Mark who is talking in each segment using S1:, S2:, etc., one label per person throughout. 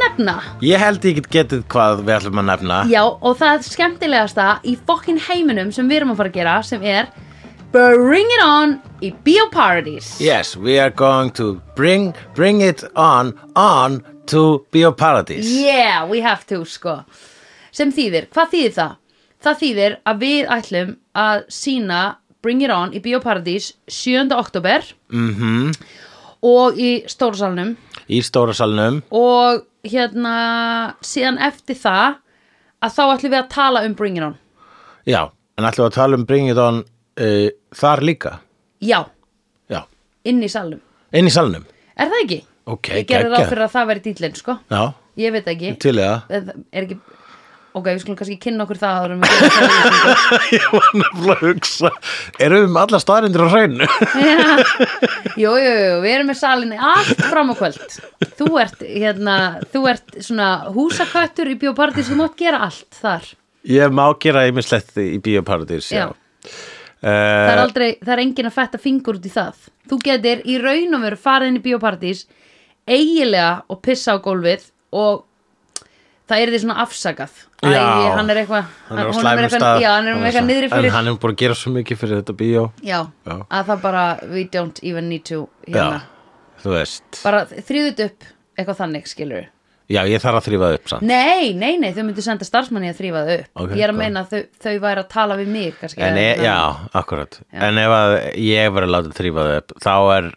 S1: nefna
S2: Ég held ég get getið hvað við ætlum að nefna
S1: Já, og það skemmtilegasta í fokkin heiminum sem við erum að fara að gera sem er Bring It On í Bioparadís
S2: Yes, we are going to bring, bring it on, on to Bioparadís
S1: Yeah, we have to, sko sem þýðir, hvað þýðir það? Það þýðir að við ætlum að sína Bring It On í Bioparadís 7. oktober mm -hmm. og í Stórsalnum
S2: Í stóra salnum
S1: og hérna síðan eftir það að þá ætlum við að tala um Bring It On
S2: Já, en ætlum við að tala um bring it on uh, þar líka
S1: Já,
S2: Já,
S1: inn í salnum
S2: inn í salnum
S1: Er það ekki?
S2: Ok,
S1: Ég gerði ráð
S2: geggjað.
S1: fyrir að það væri dýtlinn, sko
S2: Já,
S1: Ég veit ekki
S2: til eða
S1: Er er ekki Ok, við skulum kannski kynna okkur það áður en við gerum um það
S2: Ég var nefnilega að hugsa Erum við með alla staðarindir á hreinu?
S1: Jú, jú, jú, við erum með salinni allt fram á kvöld Þú ert, hérna, þú ert svona húsaköttur í biopartís Þú mátt gera allt þar
S2: Ég má gera einmislegt í Bioparadís Já,
S1: Já.
S2: Eh,
S1: Það er
S2: já.
S1: aldrei, það er engin að fætta fingur út í það Þú getur í raun og veru farið inn í biopartís Eigilega og pissa á gólfið Og það er því svona afsakað Æ,
S2: Já.
S1: hann er eitthvað
S2: Hann er á
S1: honum
S2: slæmum
S1: eitthvað-
S2: stað
S1: Já, hann er um eitthvað niðri
S2: En
S1: fyrir
S2: hann er búin að gera svo mikið fyrir þetta bíó
S1: Já,
S2: Já.
S1: að það bara We don't even need to hérna.
S2: Já, þú veist
S1: Bara þrýðut upp eitthvað þannig skilur við
S2: Já, ég þarf að þrýfa það upp samt
S1: Nei, nei, nei, þau myndu senda starfsmanni að þrýfa þau upp
S2: Ok,
S1: Ég er að
S2: góð.
S1: meina að þau, þau væri að tala við mig kannski,
S2: En e,
S1: eða-
S2: já, akkurat En ef að ég verið að láta þrýfa það upp Þá er,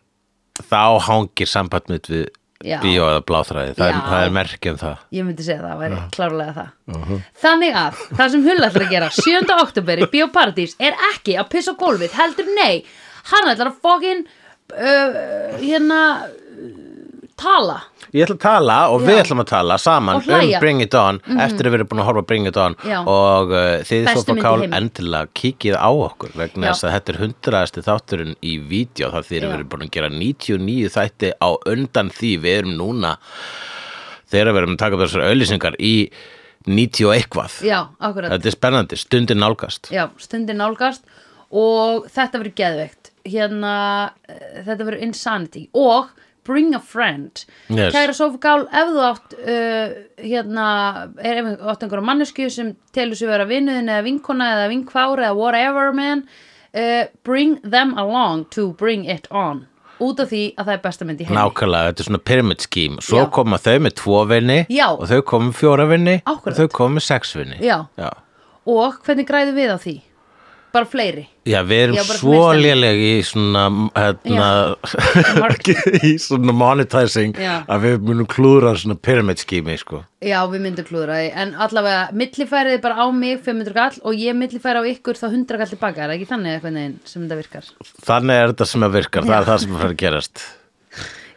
S2: þá hangir samband mitt við
S1: Já.
S2: bíó eða bláþræði Það er,
S1: Já.
S2: það er merki um það
S1: Ég myndi segja það, það væri klárlega það Þannig að, það sem Hull ætlar að gera 7. oktober í Bíóparadís er ekki að pissa á gólfið, heldur nei Hann ætlar að fókin uh, hérna uh, tala
S2: Ég ætla að tala og við
S1: Já.
S2: ætlum að tala saman
S1: Og hlæja. Mhm.
S2: um Bring It On eftir að við erum búin að horfa á Bring It On
S1: Já.
S2: og uh, þið
S1: Bestu
S2: Sofa
S1: mynd í
S2: Kál
S1: heimi.
S2: endilega kíkið á okkur vegna
S1: Já.
S2: þess að þetta er hundraðasti þátturinn í vídeo það þegar
S1: Já.
S2: við erum búin að gera 99 þætti á undan því við erum núna þegar við erum að taka upp þessar auðlýsingar í 90 og eitthvað
S1: Já, akkurat
S2: Þetta er spennandi, stundin nálgast
S1: Já, stundin nálgast og þetta verður geðveikt hérna, eh, þetta verður insanity og bring a friend
S2: Yes.
S1: kæra sofugál, ef þú átt uh, hérna, er ef þú átt einhverja mannesku sem telur sér vera vinnuðin eða vinkona eða vinkvári eða whatever man uh, bring them along to bring it on út af því að það er besta mynd í heimi
S2: Nákvæmlega, þetta er svona pyramid scheme Svo
S1: Já.
S2: koma þau með tvo vinni
S1: Já.
S2: og þau koma með fjóra vinni og
S1: Akkúrat.
S2: þau koma með sex vinni
S1: Já.
S2: Já.
S1: og hvernig græðum við á því? bara fleiri
S2: Já, við erum
S1: Já, bara
S2: svo
S1: svona í
S2: léleg í svona, hérna, í svona monetizing
S1: Já.
S2: að við munum klúðra svona pyramid skými, sko.
S1: Já, við myndum klúðra því, en allavega millifærið er bara á mig 500 kall og ég millifæri á ykkur þá 100 kall tilbaka, er það ekki þannig eitthvað neginn sem þetta virkar?
S2: Þannig er þetta sem að virkar, það er það sem að fara að gerast.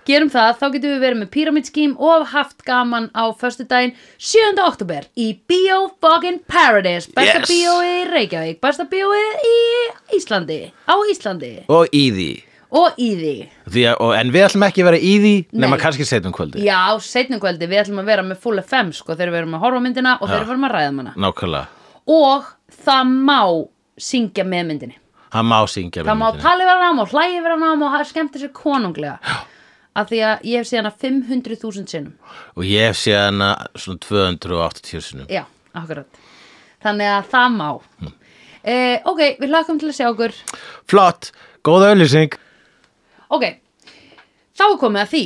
S1: Gerum það, þá getum við verið með píramidskím og haft gaman á föstudaginn 7. oktober í Bio fucking Paradise, besta
S2: Yes.
S1: yes. bíóið í Reykjavík, besta bíóið í Íslandi, á Íslandi
S2: Og í því.
S1: og í því.
S2: því að, og, en við ætlum ekki að vera í því nema
S1: Nei.
S2: kannski setjum kvöldi.
S1: Já, seinni kvöldi, við ætlum að vera með full FM sko þegar við erum að horfa á myndina og þegar við erum að ræða um hana.
S2: Nákvæmlega.
S1: Og það má syngja með myndinni.
S2: Það má syngja
S1: Það má
S2: myndinni.
S1: tala yfir hann og hlæja yfir hann og skemmta sér konunglega af því að ég hef séð hana 500.000 sinnum
S2: Og ég hef séð hana svona 280 sinum.
S1: já, akkurat þannig að það má
S2: Hm.
S1: mm. ok, við hlakum til að sjá okkur
S2: Flott, góð auðlýsing.
S1: ok, þá er komið að því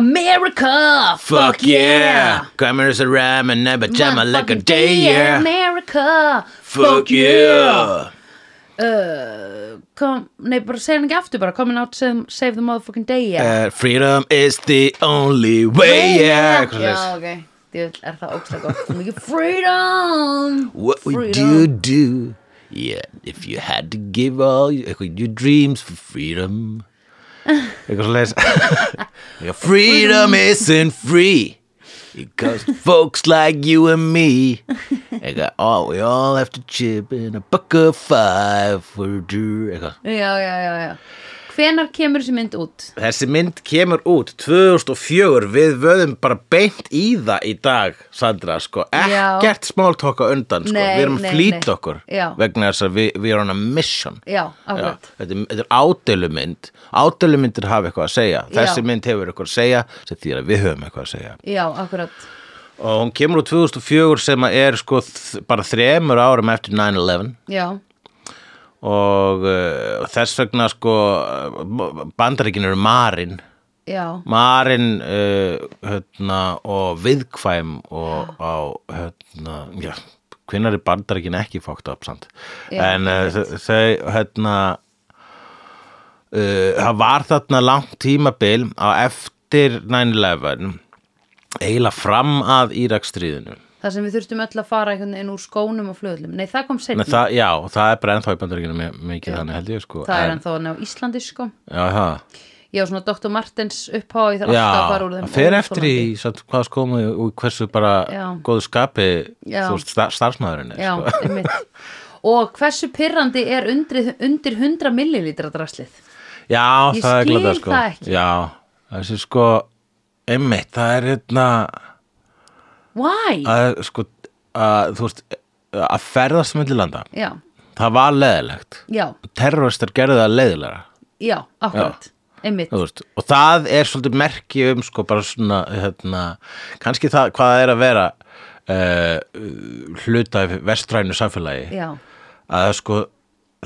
S1: America,
S2: Fuck yeah! Grammar is a ram and never jam a like a
S1: Motherfucking
S2: day, yeah!
S1: America,
S2: Fuck yeah!
S1: Kom, nei, bara segja hann ekki aftur bara, coming out save, save the motherfucking day yeah.
S2: Uh, freedom is the only way yeah. eitthvað
S1: já,
S2: svoleiðis.
S1: ok Djöfull er það ógstlega gott, svo mikið freedom
S2: What would
S1: Freedom.
S2: you do yeah, if you had to give all your, eitthvað, your dreams for freedom Eitthvað svo leis Freedom isn't free Because folks like you and me Eitthvað, all, We all have to chip in a buck of five for a do Eitthvað
S1: Já, já, já, já. Hvenar kemur þessi mynd út?
S2: Þessi mynd kemur út 2004, við vöðum bara beint í það í dag, Sandra, sko,
S1: Já.
S2: ekkert smáltóka undan, sko,
S1: Nei,
S2: við erum
S1: nei,
S2: að flýta
S1: nei.
S2: okkur
S1: Já.
S2: vegna þess að við, við erum on a mission.
S1: Já,
S2: Já,
S1: akkurat.
S2: þetta, er- þetta er ádölumynd, ádölumyndir hafa eitthvað að segja, þessi
S1: Já.
S2: mynd hefur eitthvað að segja, sem því að við höfum eitthvað að segja.
S1: Já, akkurat.
S2: og hún kemur úr 2004 sem að er sko þ- bara þremur árum eftir 9-11
S1: já,
S2: og uh, þess vegna sko uh, bandaríkin eru marinn
S1: já,
S2: marinn uh, hérna, og viðkvæm og á hérna, já, hvinnar er bandaríkin ekki fókt upp samt
S1: Já,
S2: en uh, þau- þau hérna uh, það var þarna langt tímabil á eftir 9-11 eiginlega fram að Írakstríðinu
S1: það sem við þurftum öll að fara einhvern veginn úr skónum og flöðlum nei, það kom
S2: Nei,
S1: seinna,
S2: það, já, það er bara ennþá í bandaríkinu mi- mikið þannig held ég sko
S1: það er ennþá hann á Íslandi sko,
S2: Já, það,
S1: ég á svona Dr. Martens upphá ég þarf
S2: já,
S1: alltaf að fara úr þeim
S2: það fer eftir í
S1: óþolandi.
S2: samt, hvað skoðum við og hversu bara
S1: Já.
S2: góðu skapi
S1: Já.
S2: þú veist, star, starfsmaðurinn er
S1: já,
S2: sko.
S1: einmitt og hversu pirrandi er undir, undir 100 millilítra draslið
S2: Já,
S1: Ég
S2: það er
S1: skil
S2: glatað sko
S1: það ekki.
S2: Já, þessi sko einmitt, það er hérna
S1: why?
S2: að, sko, að, þú veist að ferðast með landa
S1: já,
S2: það var leðilegt
S1: já,
S2: terroristar gerðu það leðilega
S1: já, akkurat einmitt,
S2: Þú veist, og það er svolítið merki um sko bara svona hérna, kannski það hvað það er að vera uh, hluta af vestrænu samfélagi
S1: já,
S2: að það sko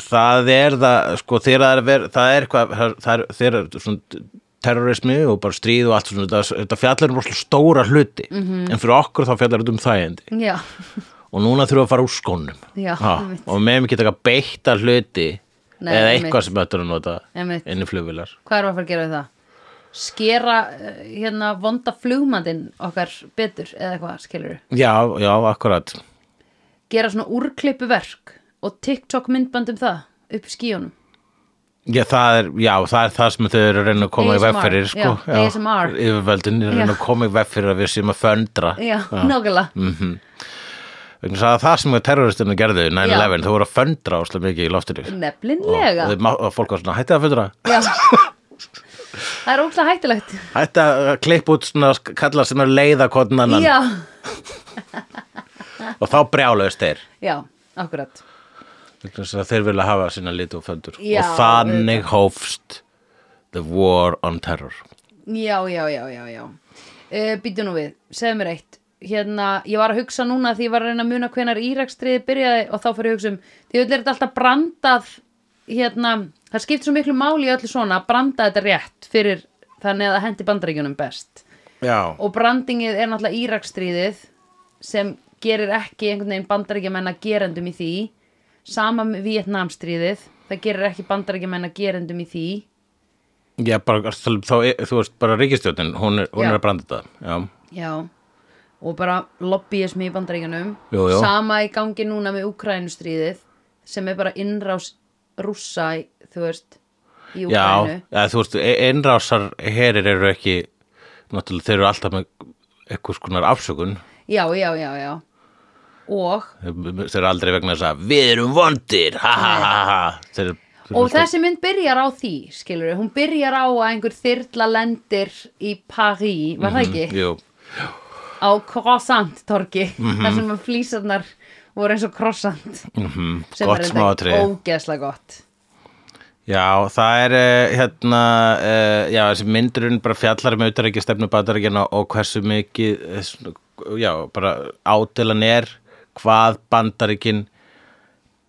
S2: það er það sko þegar það er, ver, það er hvað það, það er, þegar er svona terrorismi og bara stríð og allt svona þetta, þetta fjallar um rosalega stóra hluti
S1: Mhm.
S2: -hmm. en fyrir okkur þá fjallar þetta um þægindi
S1: já
S2: og núna þurfum við að fara úr skónum
S1: Já,
S2: Ha,
S1: einmitt.
S2: og meðum ekki taka beitta hluti
S1: Nei,
S2: eða
S1: einmitt.
S2: eitthvað sem þetta er að nota
S1: Einmitt.
S2: inn í flugvilar
S1: hvað erum við að fara að gera við það? skera eh, hérna vonda flugmandinn okkar betur eða eitthvað skilur
S2: já, já, akkurat
S1: gera svona úrklippu verk og TikTok myndband um það upp í skíunum
S2: Já, það er, já, það er það sem þau eru að reyna að koma í
S1: ASMR,
S2: vegferir, sko.
S1: já, ASMR.
S2: Yfirvöldin eru að reyna
S1: Já.
S2: að koma í vegferir að við séum að föndra.
S1: já, nákvæmlega
S2: Mm. Vegna þess að það sem terroristinu gerðu, 9-11,
S1: Já.
S2: þau voru að föndra óslega mikið í loftinu.
S1: nefnilega
S2: Og, þau má- og fólk var svona, hætti að föndra.
S1: Já. það er ógstlega hættulegt
S2: Hætti að klippa út svona sk- kalla sem er leiða hvort annan.
S1: já,
S2: Og þá brjálaust þeir.
S1: já, akkurat
S2: Vegna þess að þeir vilja hafa sína lit og föndur.
S1: Já,
S2: og þannig hófst the war on terror.
S1: Já, já, já, já, já. Uh, Býtu nú við, segðu mér eitt. Hérna, ég var að hugsa núna því ég var að reyna að muna hvenar Írakstriði byrjaði og þá fyrir ég að hugsa um, því öll er þetta alltaf brandað, hérna, það skiptir svo miklu máli í öllu svona að branda þetta rétt fyrir þannig að það hendi bandaríkjunum best.
S2: Já.
S1: Og brandingið er náttúrulega Írakstriðið sem gerir ekki einhvern veginn bandaríkjamenn að gerendum í því, sama með Vietnamstríðið, það gerir ekki bandaríkjamenn að gerendum í því.
S2: Já, bara, þá, þú veist, bara ríkistjóttin, hún er, hún
S1: Já.
S2: er að branda þetta. Já.
S1: Já, og bara lobbyismi í bandaríkjunum
S2: Jú, jú.
S1: Sama í gangi núna með Ukrænustríðið sem er bara innrás rússa, í- þú veist, í Ukrænu
S2: Já, eða, þú veist, e- innrásar herir eru ekki, náttúrulega þeir eru alltaf með eitthvað skonar afsökun
S1: Já, já, já, já Og,
S2: þeir eru aldrei vegna þess að við erum vondir, ha ha ha ha þeir, þeir
S1: og þessi mynd byrjar á því, skilur við Hún byrjar á að einhver þyrla lendir í París, var
S2: Mhm.
S1: það ekki?
S2: Jú,
S1: Á croissant-torki, þar sem að flýsarnar voru eins og croissant
S2: mhm,
S1: sem
S2: gott
S1: er
S2: smáatri
S1: ógeðslega gott
S2: Já, það er eh, hérna, eh, já, þessi myndurinn bara fjallar með auðvitaðrækja stefnu bandarækjana og hversu mikið, eh, svona, já, bara ádelan er hvað bandarækin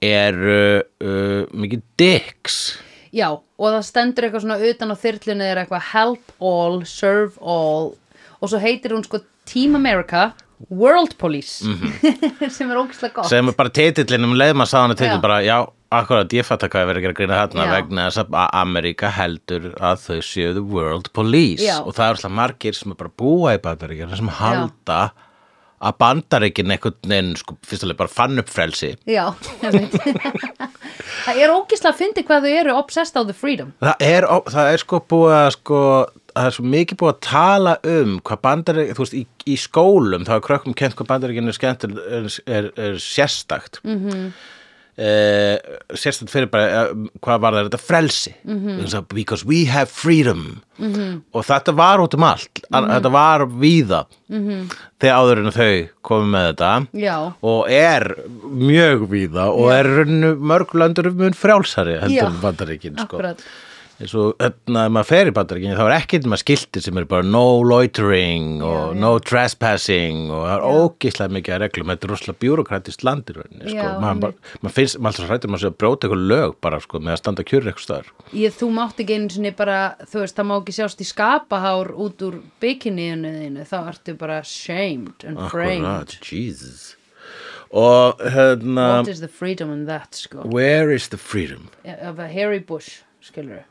S2: eru uh, mikið dicks
S1: Já, og það stendur eitthvað svona utan á þyrlunni er eitthvað help all, serve all og svo heitir hún sko Team America World Police sem er ógislega gott
S2: Mhm. sem er bara titillin um leiðum að sá hana
S1: Já.
S2: titill bara, já, akkurat, ég fatt að hvað er verið að gera grína þarna
S1: Já.
S2: vegna þess að Amerika heldur að þau séu the world police
S1: Já.
S2: og það eru alltaf margir sem er bara búa í bandaríkjana sem halda að bandaríkin einhvern veginn, sko, fyrst alveg bara fann upp frelsi
S1: Já, ég veit Það er ógislega að fyndi hvað þau eru obsessed á the freedom
S2: það er, ó- það er sko búið að sko það er svo mikið búið að tala um hvað bandaríkin, þú veist, í, í skólum þá er krökkum kent hvað bandaríkin er skemmt er, er, er sérstakt mm
S1: Mhm.
S2: -hmm. sérstakt fyrir bara eh, hvað var það þetta frelsi mm
S1: Mhm.
S2: -hmm. because we have freedom -hmm. og þetta var út um allt
S1: Mhm.
S2: þetta var víða -hmm. þegar áður en þau komum með þetta
S1: Já,
S2: og er mjög víða og er í rauninu mörg löndur mun frjálsari
S1: Já.
S2: heldur en bandaríkin sko.
S1: akkurat
S2: eins og öfna, ef maður fer í bandaríkinni þá er ekkert maður skilti sem er bara no loitering
S1: Já,
S2: og
S1: já.
S2: no trespassing og það er ógislega mikið að reglum þetta er rosalega bjúrokratist landir sko.
S1: Já,
S2: maður, bara- maður finnst, maður alltaf hrættur maður sé að bróta eitthvað lög bara sko, með að standa kjur eitthvað staðar
S1: Ég, þú mátt ekki einu sinni bara, þú veist, það má ekki sjást í skapahár út úr bikiniðinu þínu, þá ertu bara shamed and framed.
S2: Akkurat, Jesus og hérna
S1: What is the freedom in that, sko?
S2: where is the freedom
S1: Of a hairy bush, skilur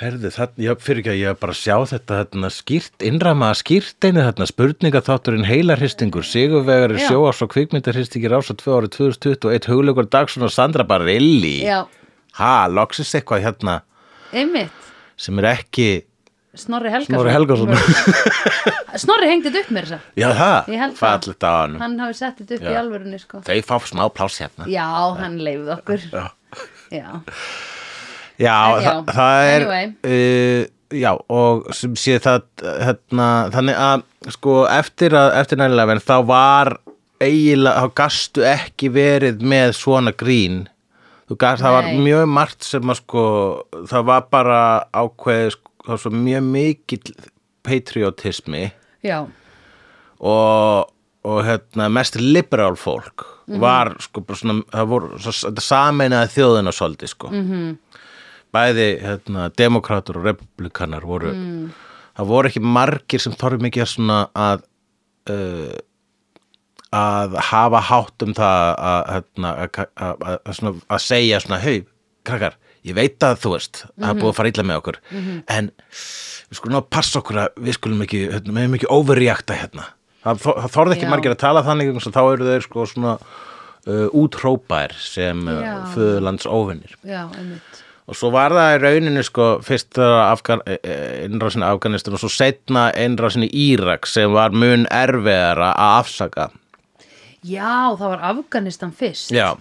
S2: Herði, þannig, ég fyrir ekki að ég bara sjá þetta þarna skýrt, innrama skýrteinu þarna spurningaþátturinn heilarhistingur, sigurvegari
S1: Já.
S2: sjóás og kvikmyndarhistingir ás á 2 árið 2021, hugleikur Dagsson og Sandra Barilli.
S1: Já,
S2: Ha, loksist eitthvað hérna
S1: einmitt,
S2: sem er ekki,
S1: Snorri Helgason.
S2: Snorri Helgason.
S1: Snorri hengdi þetta upp mér þess
S2: já það,
S1: Ég held það.
S2: fallit á hann.
S1: Hann hafi sett þetta upp
S2: Já.
S1: í alvörunni, sko.
S2: Þau fá smá pláss hérna.
S1: Já, hann leifði okkur.
S2: Já,
S1: Já.
S2: já,
S1: En Eh, já,
S2: það, það er,
S1: anyway.
S2: uh, já, og sem sé það, hérna, þannig að, sko, eftir, að, eftir nægilega verð, þá var eiginlega, þá gastu ekki verið með svona grín. Þú gast, það var
S1: Nei.
S2: mjög margt sem að, sko, það var bara ákveðið, sko, það var svo mjög mikill patriotismi
S1: Já,
S2: og, og hérna, mest liberal fólk
S1: Mhm.
S2: var sko bara svona, það voru, svo- þetta sameinaði þjóðina svolítið sko
S1: Mhm.
S2: -hmm. bæði hérna, demokrater og republikanar voru
S1: Mm.
S2: það voru ekki margir sem þorfum ekki að svona að uh, að hafa hátt um það að, hérna, að, að, að, að, svona, að segja svona, hei, krakkar ég veit að þú veist, að
S1: Mhm.
S2: það er búið að fara illa með okkur en við skulum að passa okkur að við skulum ekki, hérna, við erum ekki overreakta hérna, það, þor- það þorði ekki
S1: Já.
S2: margir að tala þannig vegna þess að þá eru þeir sko svona uh, útrópaðir sem
S1: Já.
S2: föðulands óvinnir
S1: já, einmitt.
S2: og svo var það í rauninu sko fyrst Afgan, e, innrásin Afganistan og svo setna innrásin í Írak sem var mun erfiðara að afsaka
S1: Já, það var Afganistan fyrst.
S2: Já,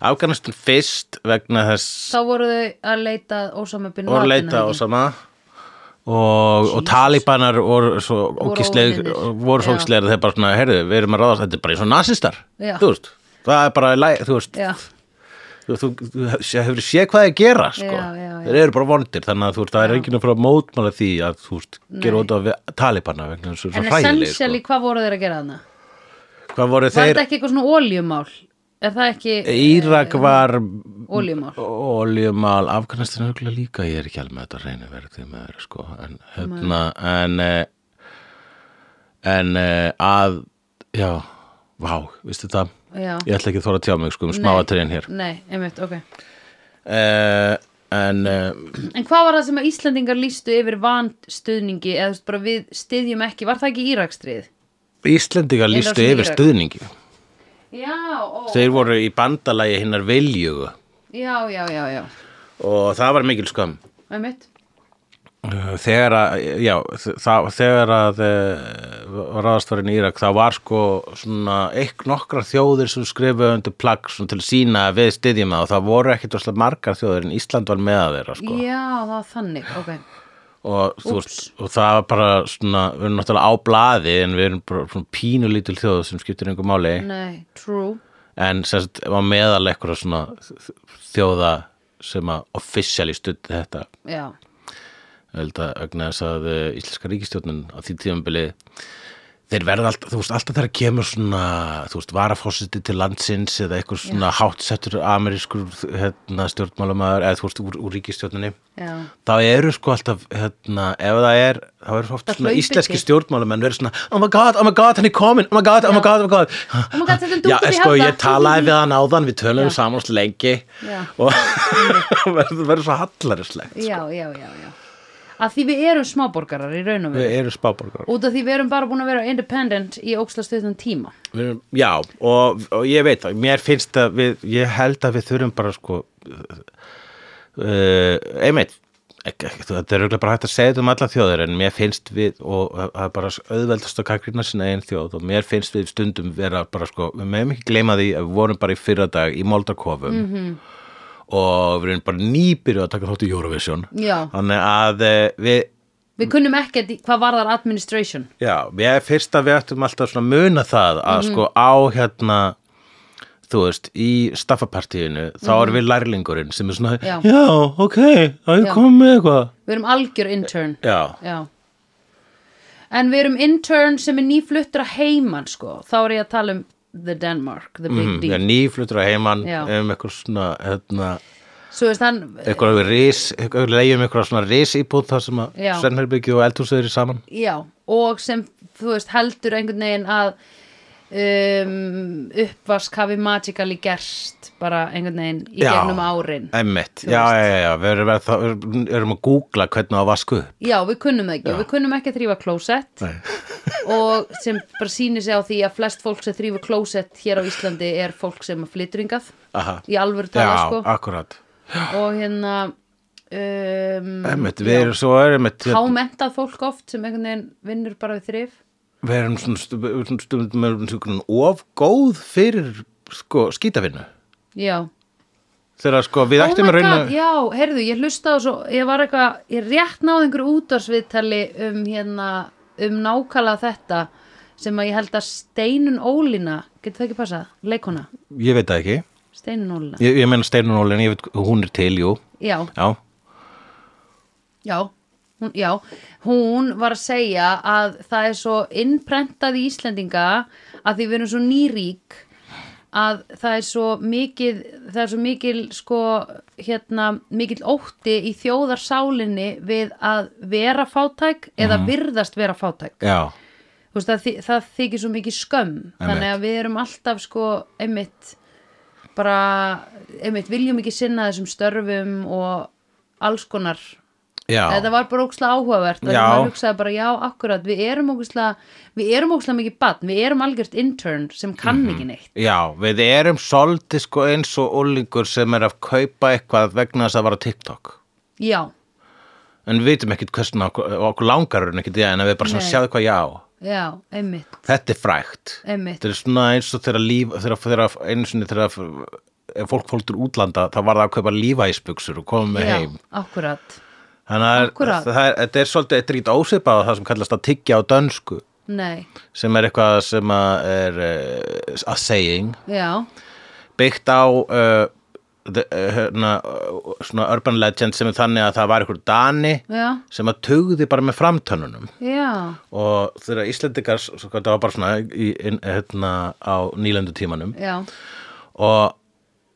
S2: Afganistan fyrst vegna þess
S1: Þá voru þau að leita Ósama bin
S2: og
S1: Laden.
S2: leita
S1: eða
S2: og
S1: ekki?
S2: sama og, og talibanar voru svo ógisleg
S1: óvinir.
S2: voru svo
S1: Já.
S2: ógisleg þegar bara svona, heyrðu, við erum að ráðast þetta er bara eins og nasistar,
S1: Já.
S2: þú veist það er bara, í lagi, þú veist
S1: Já,
S2: þú, þú, þú hefur séð hvað þeir gera sko.
S1: Já, já, já.
S2: þeir eru bara vondir þannig að þú veist, það er enginn að fara að mótmála því að þú veist, gera
S1: Nei.
S2: út af við- talibana vegna þessu
S1: en
S2: hræðileg sko.
S1: essentially hvað voru þeir að gera þarna?
S2: hvað voru
S1: Var þetta
S2: þeir,
S1: ekki eitthvað svona óljumál? Er það ekki
S2: Írak var
S1: óljumál?
S2: oljumál, Afganistan örgulega líka ég er ekki alveg með þetta að reyna að vera því með þeir sko, en hérna en, eh, en eh, að já, vá, veistu það
S1: Já,
S2: ég ætla ekki að þóra að tjá mig sko um smáatriðin hér
S1: nei, einmitt, ok.
S2: uh, en uh,
S1: En hvað var það sem að Íslandingar lístu yfir vanstuðningi eða þú veist bara við styðjum ekki, var það ekki Írakstrið?
S2: Íslendingar lístu
S1: Innrásin í
S2: yfir
S1: Írak.
S2: stuðningi
S1: Já, ó,
S2: þeir voru í bandalagi hinnar viljugu
S1: já, já, já, já,
S2: og það var mikil skam
S1: einmitt,
S2: Uh, þegar að, já, það, þegar að uh, ráðastvarinn í Írak þá var sko svona ekk nokkra þjóðir sem skrifuðu undir plagg svona til sína að við styðjum það og það voru ekkit rosalega margar þjóðir en Ísland var með að vera sko
S1: já, það var þannig, ok,
S2: og, þú veist, og það var bara svona, við erum náttúrulega á blaði en við erum bara svona pínulítil þjóð sem skiptir einhver máli
S1: nei, true,
S2: en sem sagt var meðal eitthvað svona þjóða sem að officially studdi þetta
S1: já,
S2: Ég held að vegna þess að eh, íslenska ríkistjórnin á því tíðanbili þeir verða alltaf, þú veist, alltaf þegar kemur svona, þú veist, varafósiti til landsins eða eitthvað svona hátsettur amerískur hérna, stjórnmálamæður eða þú veist, úr, úr ríkistjórninni
S1: já,
S2: þá eru sko alltaf, hérna, ef það er þá eru oft
S1: Það
S2: svona
S1: hlaup
S2: íslenski
S1: ekki.
S2: stjórnmálamenn verið svona, oh my god, oh my god, hann er komin oh my god, oh my god, oh my god
S1: Oh my God, þetta er
S2: Já,
S1: dúttur í
S2: sko,
S1: handa.
S2: ég talaði við hann áðan, við
S1: Já.
S2: töluðum saman svo lengi
S1: Já.
S2: og verður verður svo hallarislegt
S1: já, já, já, já, að því við erum smáborgarar í raun og veru,
S2: við erum spáborgar
S1: út af því við erum bara búin að vera independent í ógslastuðnum tíma,
S2: Við erum- Já, og, og ég veit það, mér finnst að við, ég held að við þurfum bara sko, uh, einmitt, ekki, ekki, þetta er örugglega bara hægt að segja þetta um alla þjóðir en mér finnst við, og það er bara auðveldast að kakrína sinna einn þjóð og mér finnst við stundum vera bara sko, við meðum ekki gleyma því að við vorum bara í fyrradag í Moldakofum og við erum bara nýbyrjuð að taka þátt í Eurovision,
S1: Já.
S2: þannig að eh, við,
S1: við kunnum ekkert í- hvað var þar administration, Mhm.
S2: Já, ég fyrst að við ættum alltaf svona að muna það að sko á hérna þú veist, í staffapartíinu þá erum við lærlingurinn sem er svona
S1: Mhm. Já.
S2: ok, það er
S1: Já.
S2: komið með eitthvað
S1: Við erum algjör intern
S2: Já,
S1: Já En við erum intern sem er nýfluttur að heiman sko Þá er ég að tala um The Denmark, the big
S2: mm,
S1: deal
S2: já nýflutur að heiman
S1: Já.
S2: um eitthvað svona hérna,
S1: Svo veist hann,
S2: eitthvað ris, eitthvað leiðum eitthvað svona ris íbúð þar sem að
S1: Já.
S2: Svennherbyggju og Eldhúsið eru saman
S1: já Og sem, þú veist, heldur einhvern veginn að um, Uppvask hafi magically gerst Bara einhvern veginn í
S2: Já.
S1: gegnum árin
S2: Einmitt,
S1: Þú
S2: já,
S1: veist.
S2: já, já, já, við erum, að- þá erum- erum að googla hvernig á að vasku upp.
S1: Já, við kunnum það ekki,
S2: Já.
S1: við kunnum ekki að þrýfa klósett
S2: Nei.
S1: og sem bara sýnir sig á því að flest fólk sem þrýfa klósett hér á Íslandi er fólk sem er flytringað
S2: Aha.
S1: í alvöru
S2: Já,
S1: tala sko
S2: akkurat
S1: og hérna um,
S2: Einmitt, við
S1: já,
S2: erum svo erum einmitt, hérna,
S1: hámentað fólk oft sem einhvern veginn vinnur bara við þrif
S2: við erum svona stundum stund, stund, stund, of góð fyrir sko, skítafinu
S1: já
S2: þegar sko, við
S1: Oh my
S2: ættum að reyna
S1: God, já, heyrðu, ég hlustaði á svo ég var eitthvað, ég rétt náði einhverju útvarsviðtali um hérna um nákala þetta sem að ég held að Steinun Ólína getur það ekki passað, leikona
S2: ég veit það ekki,
S1: Steinun Ólína,
S2: ég, ég meina Steinun Ólin ég veit, hún er til, jú
S1: já,
S2: já,
S1: já hún, já, hún var að segja að það er svo innprentað í Íslendinga að því við erum svo nýrík að það er svo mikið það er svo mikil sko hérna, mikil ótti í þjóðarsálinni við að vera fátæk eða virðast vera fátæk
S2: já,
S1: Þú veist, það, þy- það þykir svo mikið skömm þannig að við erum alltaf sko einmitt bara einmitt viljum ekki sinna þessum störfum og alls konar
S2: já
S1: þetta var bara ókslega áhugavert þannig
S2: Já.
S1: að maður hugsaði bara já, akkurat, við erum ókslega við erum ókslega mikið badn, við erum algjört intern sem kann
S2: Mhm.
S1: ekki neitt
S2: Já, við erum svolítið sko eins og úlingur sem er að kaupa eitthvað vegna þess að vara á TikTok.
S1: já,
S2: En við vitum ekkit hversna okkur, okkur langar en ekkit í það en að við bara svona
S1: Nei.
S2: sjáðu hvað já,
S1: já, einmitt
S2: þetta er frægt.
S1: Einmitt.
S2: Þetta er svona eins og þegar líf, þegar, þegar einu sinni þegar ef fólk fólk til útlanda þá var það að kaupa lífæsbuksur og koma með
S1: já,
S2: heim.
S1: akkurat,
S2: Þannig að
S1: Akkúrat.
S2: það er- þetta er svolítið, þetta er ekkit ósipað á það sem kallast að tyggja á dönsku
S1: nei
S2: sem er eitthvað sem að er uh, a saying
S1: já,
S2: byggt á uh, the, uh, hérna, uh, svona urban legend sem er þannig að það var einhver dani
S1: já,
S2: sem að tugði bara með framtönnunum
S1: já
S2: og þegar Íslendingar s- sko, það var bara svona í, inn, hérna, á nýlendu tímanum
S1: já,
S2: og,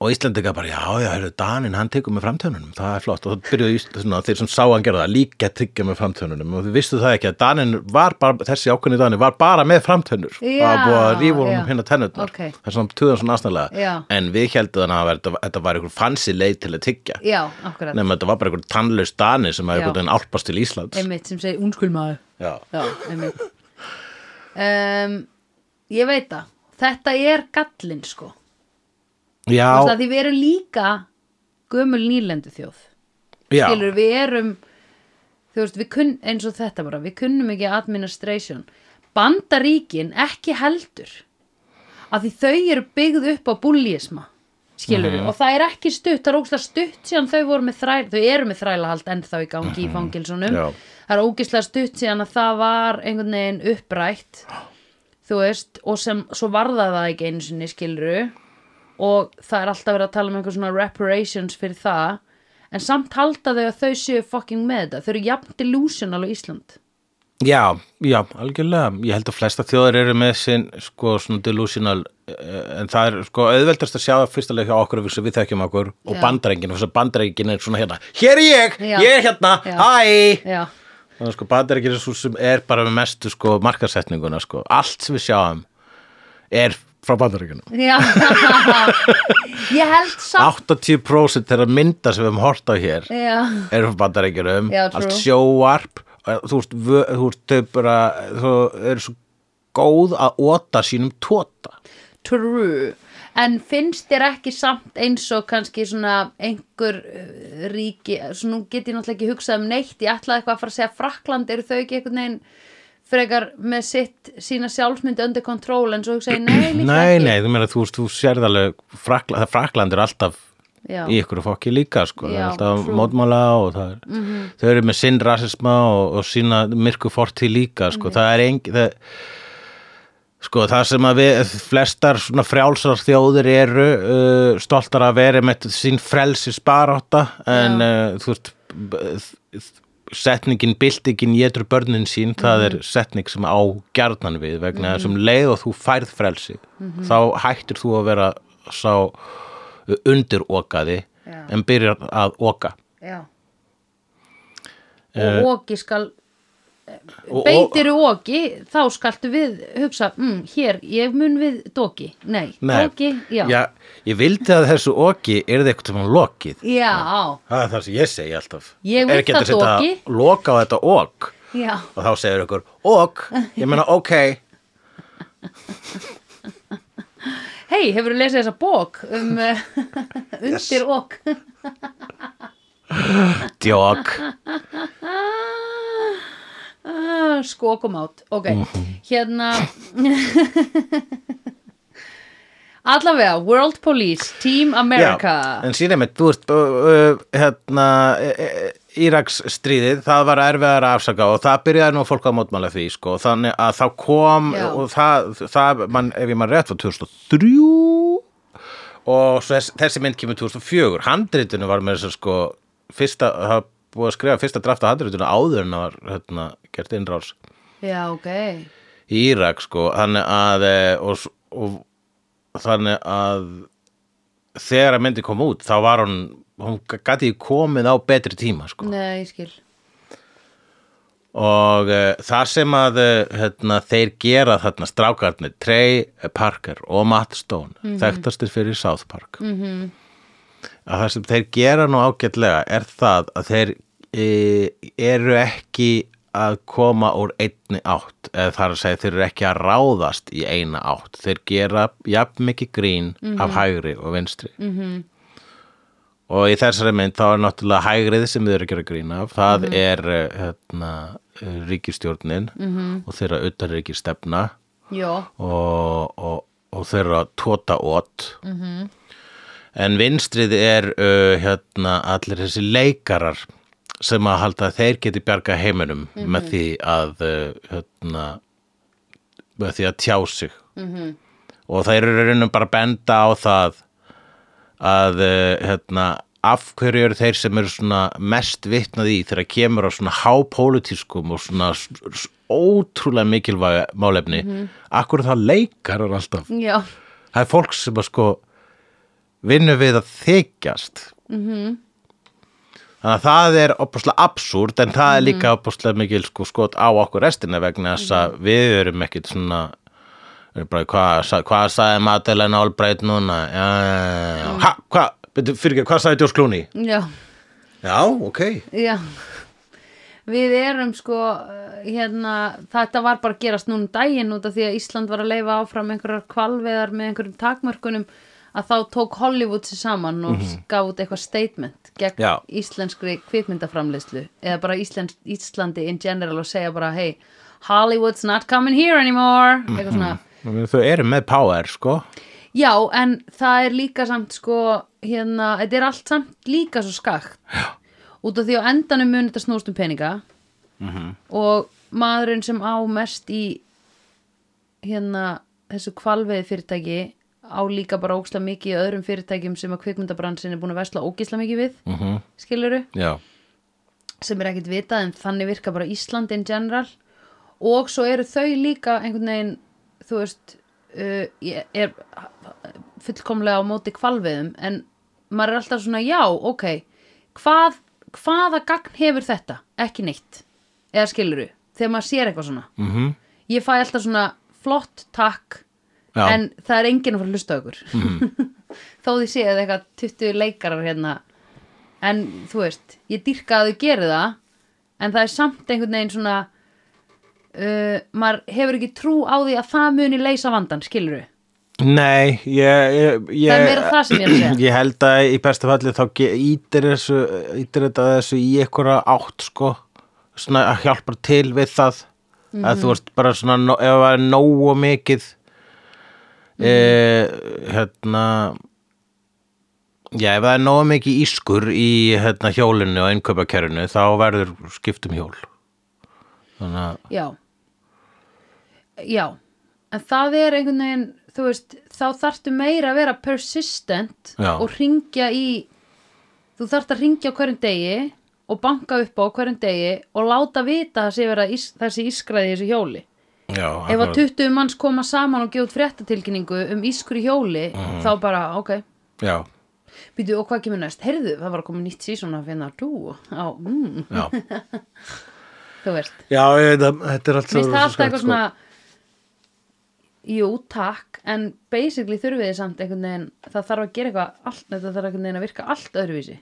S2: og Íslendingar bara já, já, hérna, danin, hann tekur með framtönnunum það er flott og það byrjuðu Ísland, svona, þeir sem sá hann gera það líka að tyggja með framtönnunum og þau visstu það ekki að danin var bara þessi ákveðni dani var bara með framtönnur
S1: Já,
S2: og það var búið að rífa
S1: já.
S2: honum hérna tennurnar
S1: Ókei.
S2: þess að hann tuðan svona aðsnaðlega
S1: Já.
S2: en við heldum þannig að þetta- þetta var einhver fancy leið til að tyggja
S1: já, akkurat
S2: nema þetta var bara einhver tannlaus dani sem
S1: Já.
S2: hafði einhvern veginn álpast til Íslands
S1: einmitt sem segir unnskulmaður
S2: Já.
S1: já, einmitt um, ég veit það þetta er gallinn sko Þú veist
S2: Já,
S1: að því við erum líka gömul nýlendu þjóð
S2: já,
S1: skilur við erum þú veist, við kunn, eins og þetta bara við kunnum ekki administration bandaríkin ekki heldur af því þau eru byggð upp á búlíisma skilur og það er ekki stutt, það er ógislega stutt síðan þau voru með þræl, þau eru með þrælahald ennþá í gangi í fangilsunum
S2: Já.
S1: það er ógislega stutt síðan að það var einhvern veginn upprætt þú veist, og sem svo varða það ekki einu sinni skiluru og það er alltaf verið að tala um einhver svona reparations fyrir það en samt halda þau að þau séu fucking með þetta þau eru jafn delusional á Ísland
S2: já, já, algjörlega ég held að flesta þjóðar eru með sinn sko svona delusional eh, en það er sko auðveldast að sjá það fyrsta leik hjá okkur við sem við þekkjum okkur
S1: Já.
S2: og bandarengin og þess að bandarengin er svona hérna hér er ég,
S1: Já.
S2: ég er hérna,
S1: Já.
S2: hæ
S1: já,
S2: og sko bandarengin er svo sem er bara með mestu sko markarsetninguna sko allt sem við sjáum er frá bandarenginum
S1: já. ég held samt
S2: 80% þeirra mynda sem við höfum hort á hér
S1: já,
S2: eru frá bandarækjunum
S1: Já, true.
S2: allt sjóvarp eh, þú veist, vö- þú veist, þau bara þú eru svo góð að óta sínum tota. tóta
S1: true en finnst þér ekki samt eins og kannski svona einhver eh, ríki, svona nú get ég náttúrulega ekki hugsað um neitt, ég ætlaði eitthvað að fara að segja Frakland eru þau ekki einhvern veginn frekar með sitt sína sjálfsmynd undir kontról en svo hugsaði ég, nei, líka
S2: nei,
S1: ekki
S2: nei, þú meina, þú veist, þú sérð alveg frakla, það frakland er alltaf
S1: Já.
S2: í ykkur fokki líka, sko það
S1: Já,
S2: er alltaf
S1: true. Mhm.
S2: mótmála og það er þau eru með sinn rasisma og, og sína myrku fortíð líka, sko, það er engi það, Sko, það sem að við, flestar svona frjálsar þjóðir eru uh, stoltar að vera með sín frelsis barátta en uh, þú veist b- þ- setningin, byltingin, getur börnin sín það
S1: Mhm.
S2: er setning sem á gjarnan við vegna þessum leið og þú færð frelsi
S1: Mhm.
S2: þá hættir þú að vera sá undirokaði
S1: Já.
S2: en byrjar að oka
S1: já og óki skal
S2: Eh, og-
S1: beitir og óki þá skaltu við hugsa mm, hér, ég mun við dóki nei,
S2: Nei,
S1: óki, já já,
S2: Já, ég vildi að þessu oki er það eitthvað sem lokið
S1: já,
S2: Það er það sem ég segi alltaf.
S1: Ég
S2: Er
S1: vil
S2: ekki
S1: það
S2: hægt að setja
S1: doki.
S2: Loka á þetta ok.
S1: já.
S2: Og þá segir ykkur, ok, ég meina ok.
S1: hei, hefurðu lesið þessa bók um uh, undir ók
S2: Djók.
S1: Ah, skokumát ok, hérna allavega World Police, Team America
S2: En síðan með, þú veist, uh, uh, hérna, uh, Íraks stríðið, það var erfiðar að afsaka og það byrjaði nú fólk að mótmála því, sko. Þannig að þá kom,
S1: Já.
S2: og það, það man, ef ég maður rétt, var 2003 og svo þess, þessi mynd kemur 2004 handritinu var með þess að sko fyrsta, það var búið að skrifa fyrsta draft á handritinu áður en það var hérna, gert innrás
S1: já, ok
S2: í Írak sko þannig að eh, og, s- og þannig að þegar að myndi kom út þá var hún hún gæti komið á betri tíma sko
S1: nei, ég skil
S2: og uh, þar sem að uh, hérna, þeir gera þarna strákarnir Trey Parker og Matt Stone þekktastir fyrir South Park -hmm. að það sem þeir gera nú ágætlega er það að þeir e, eru ekki að koma úr einni átt eða þar að segja þeir eru ekki að ráðast í eina átt, þeir gera jafn mikið grín af hægri og vinstri og í þessari mynd þá er náttúrulega hægrið sem við erum að gera grín af það er eh, hérna, eh, ríkistjórnin -hmm. og þeirra utanríkir stefna
S1: já,
S2: og, og, og þeirra tóta ót -hmm. en vinstrið er uh, hérna, allir þessi leikarar sem að halda að þeir geti bjarga heiminum með því að uh, hérna, með því að tjá sig -hmm. og þeir eru raunum bara að benda á það að uh, hérna af hverju eru þeir sem eru svona mest vitnaði í þegar kemur á svona hápólitískum og svona s- s- ótrúlega mikilvæg málefni akkur það leikar er alltaf
S1: já
S2: það er fólk sem að sko vinnu við að þykjast -hmm. þannig að það er opaslega absúrt en það er líka opaslega mikil sko, skot á okkur restina vegna þess að við erum ekkit svona erum bara, hvað, sa- hvað sagði Madeleine Albright núna já, já, já, já. ha, hvað, fyrir ekki, hvað sagði Djós Klúni
S1: já,
S2: já, ok
S1: já við erum sko uh, hérna, þetta var bara að gerast núna um daginn út af því að Ísland var að leifa áfram einhverjar kvalveðar með einhverjum takmörkunum að þá tók Hollywood sér saman og gaf út eitthvað statement gegn
S2: Já.
S1: íslenskri kvikmyndaframleyslu eða bara Ísland, Íslandi in general og segja bara hey, Hollywood's not coming here anymore eitthvað svona
S2: Þau eru með power, sko.
S1: Já, en það er líka samt sko, hérna, þetta er allt samt líka svo skakt. Já. Út af því á endanum mun þetta snúst um peninga -hmm. og maðurinn sem á mest í hérna þessu kvalveði fyrirtæki á líka bara ógisla mikið í öðrum fyrirtækjum sem að kvikmyndabransin er búin að vesla ógisla mikið við, mm -hmm. skiluru,
S2: Já.
S1: sem er ekkit vitað en þannig virka bara Ísland in general og svo eru þau líka einhvern veginn, þú veist, uh, ég er fullkomlega á móti kvalviðum en maður er alltaf svona já, ok hvað, hvaða gagn hefur þetta? ekki neitt eða skiluru, þegar maður sér eitthvað svona mm -hmm. ég fæ alltaf svona flott takk
S2: Já.
S1: en það er enginn að fara að hlusta á ykkur þó því séð eitthvað 20 leikarar hérna en þú veist, ég dýrka að þau geri það en það er samt einhvern veginn svona uh, maður hefur ekki trú á því að það muni leysa vandan, skiluru
S2: Nei, ég, ég, ég...
S1: Það er meira það sem ég er að segja.
S2: Ég held að í besta falli þá ge- ítir, þessu, ítir þetta þessu í einhverja átt, sko. Svona að hjálpa til við það. Að
S1: Mhm.
S2: þú veist bara svona, nó- ef það er nógu mikið, e,
S1: Mhm.
S2: hérna... Já, ef það er nógu mikið ískur í hérna, hjólinu og innkaupakerinu, þá verður skiptum hjól. Þannig að...
S1: Já Já en það er einhvern veginn þú veist, þá þarftu meira að vera persistent
S2: Já.
S1: og ringja í þú þarft að ringja á hverjum degi og banka upp á á hverjum degi og láta vita að það sé vera ís, þessi ískraði í þessu hjóli
S2: já,
S1: ef að
S2: akkurat.
S1: 20 manns koma saman og gefa út fréttatilkynningu um ískur í hjóli
S2: Mhm.
S1: þá bara, ok,
S2: já,
S1: býtu og hvað kemur næst heyrðu, það var að koma nýtt sísón að finna dú á, mm,
S2: já
S1: þú veist
S2: já, ég veit að þetta er allt
S1: Mér finnst það alltaf
S2: rosa
S1: eitthvað
S2: skært, sko.
S1: svona Jú, takk En basically þurfið þið samt einhvern veginn Það þarf að gera eitthvað allt Þetta þarf einhvern veginn að virka allt öðruvísi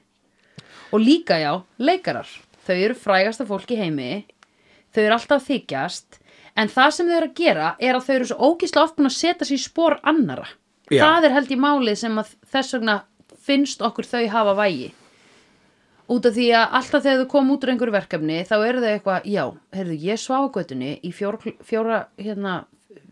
S1: Og líka já, leikarar Þau eru frægasta fólk í heimi Þau eru alltaf að þykjast En það sem þau eru að gera er að þau eru svo ógislega oft búin að setja sig í spór annara
S2: Já.
S1: Það er held í málið sem að þess vegna finnst okkur þau hafa vægi út af því að alltaf þegar þau kom út úr einhverju verkefni þá eru þau eitthvað, já, heyrðu, ég svá á götunni í fjór, fjóra, hérna,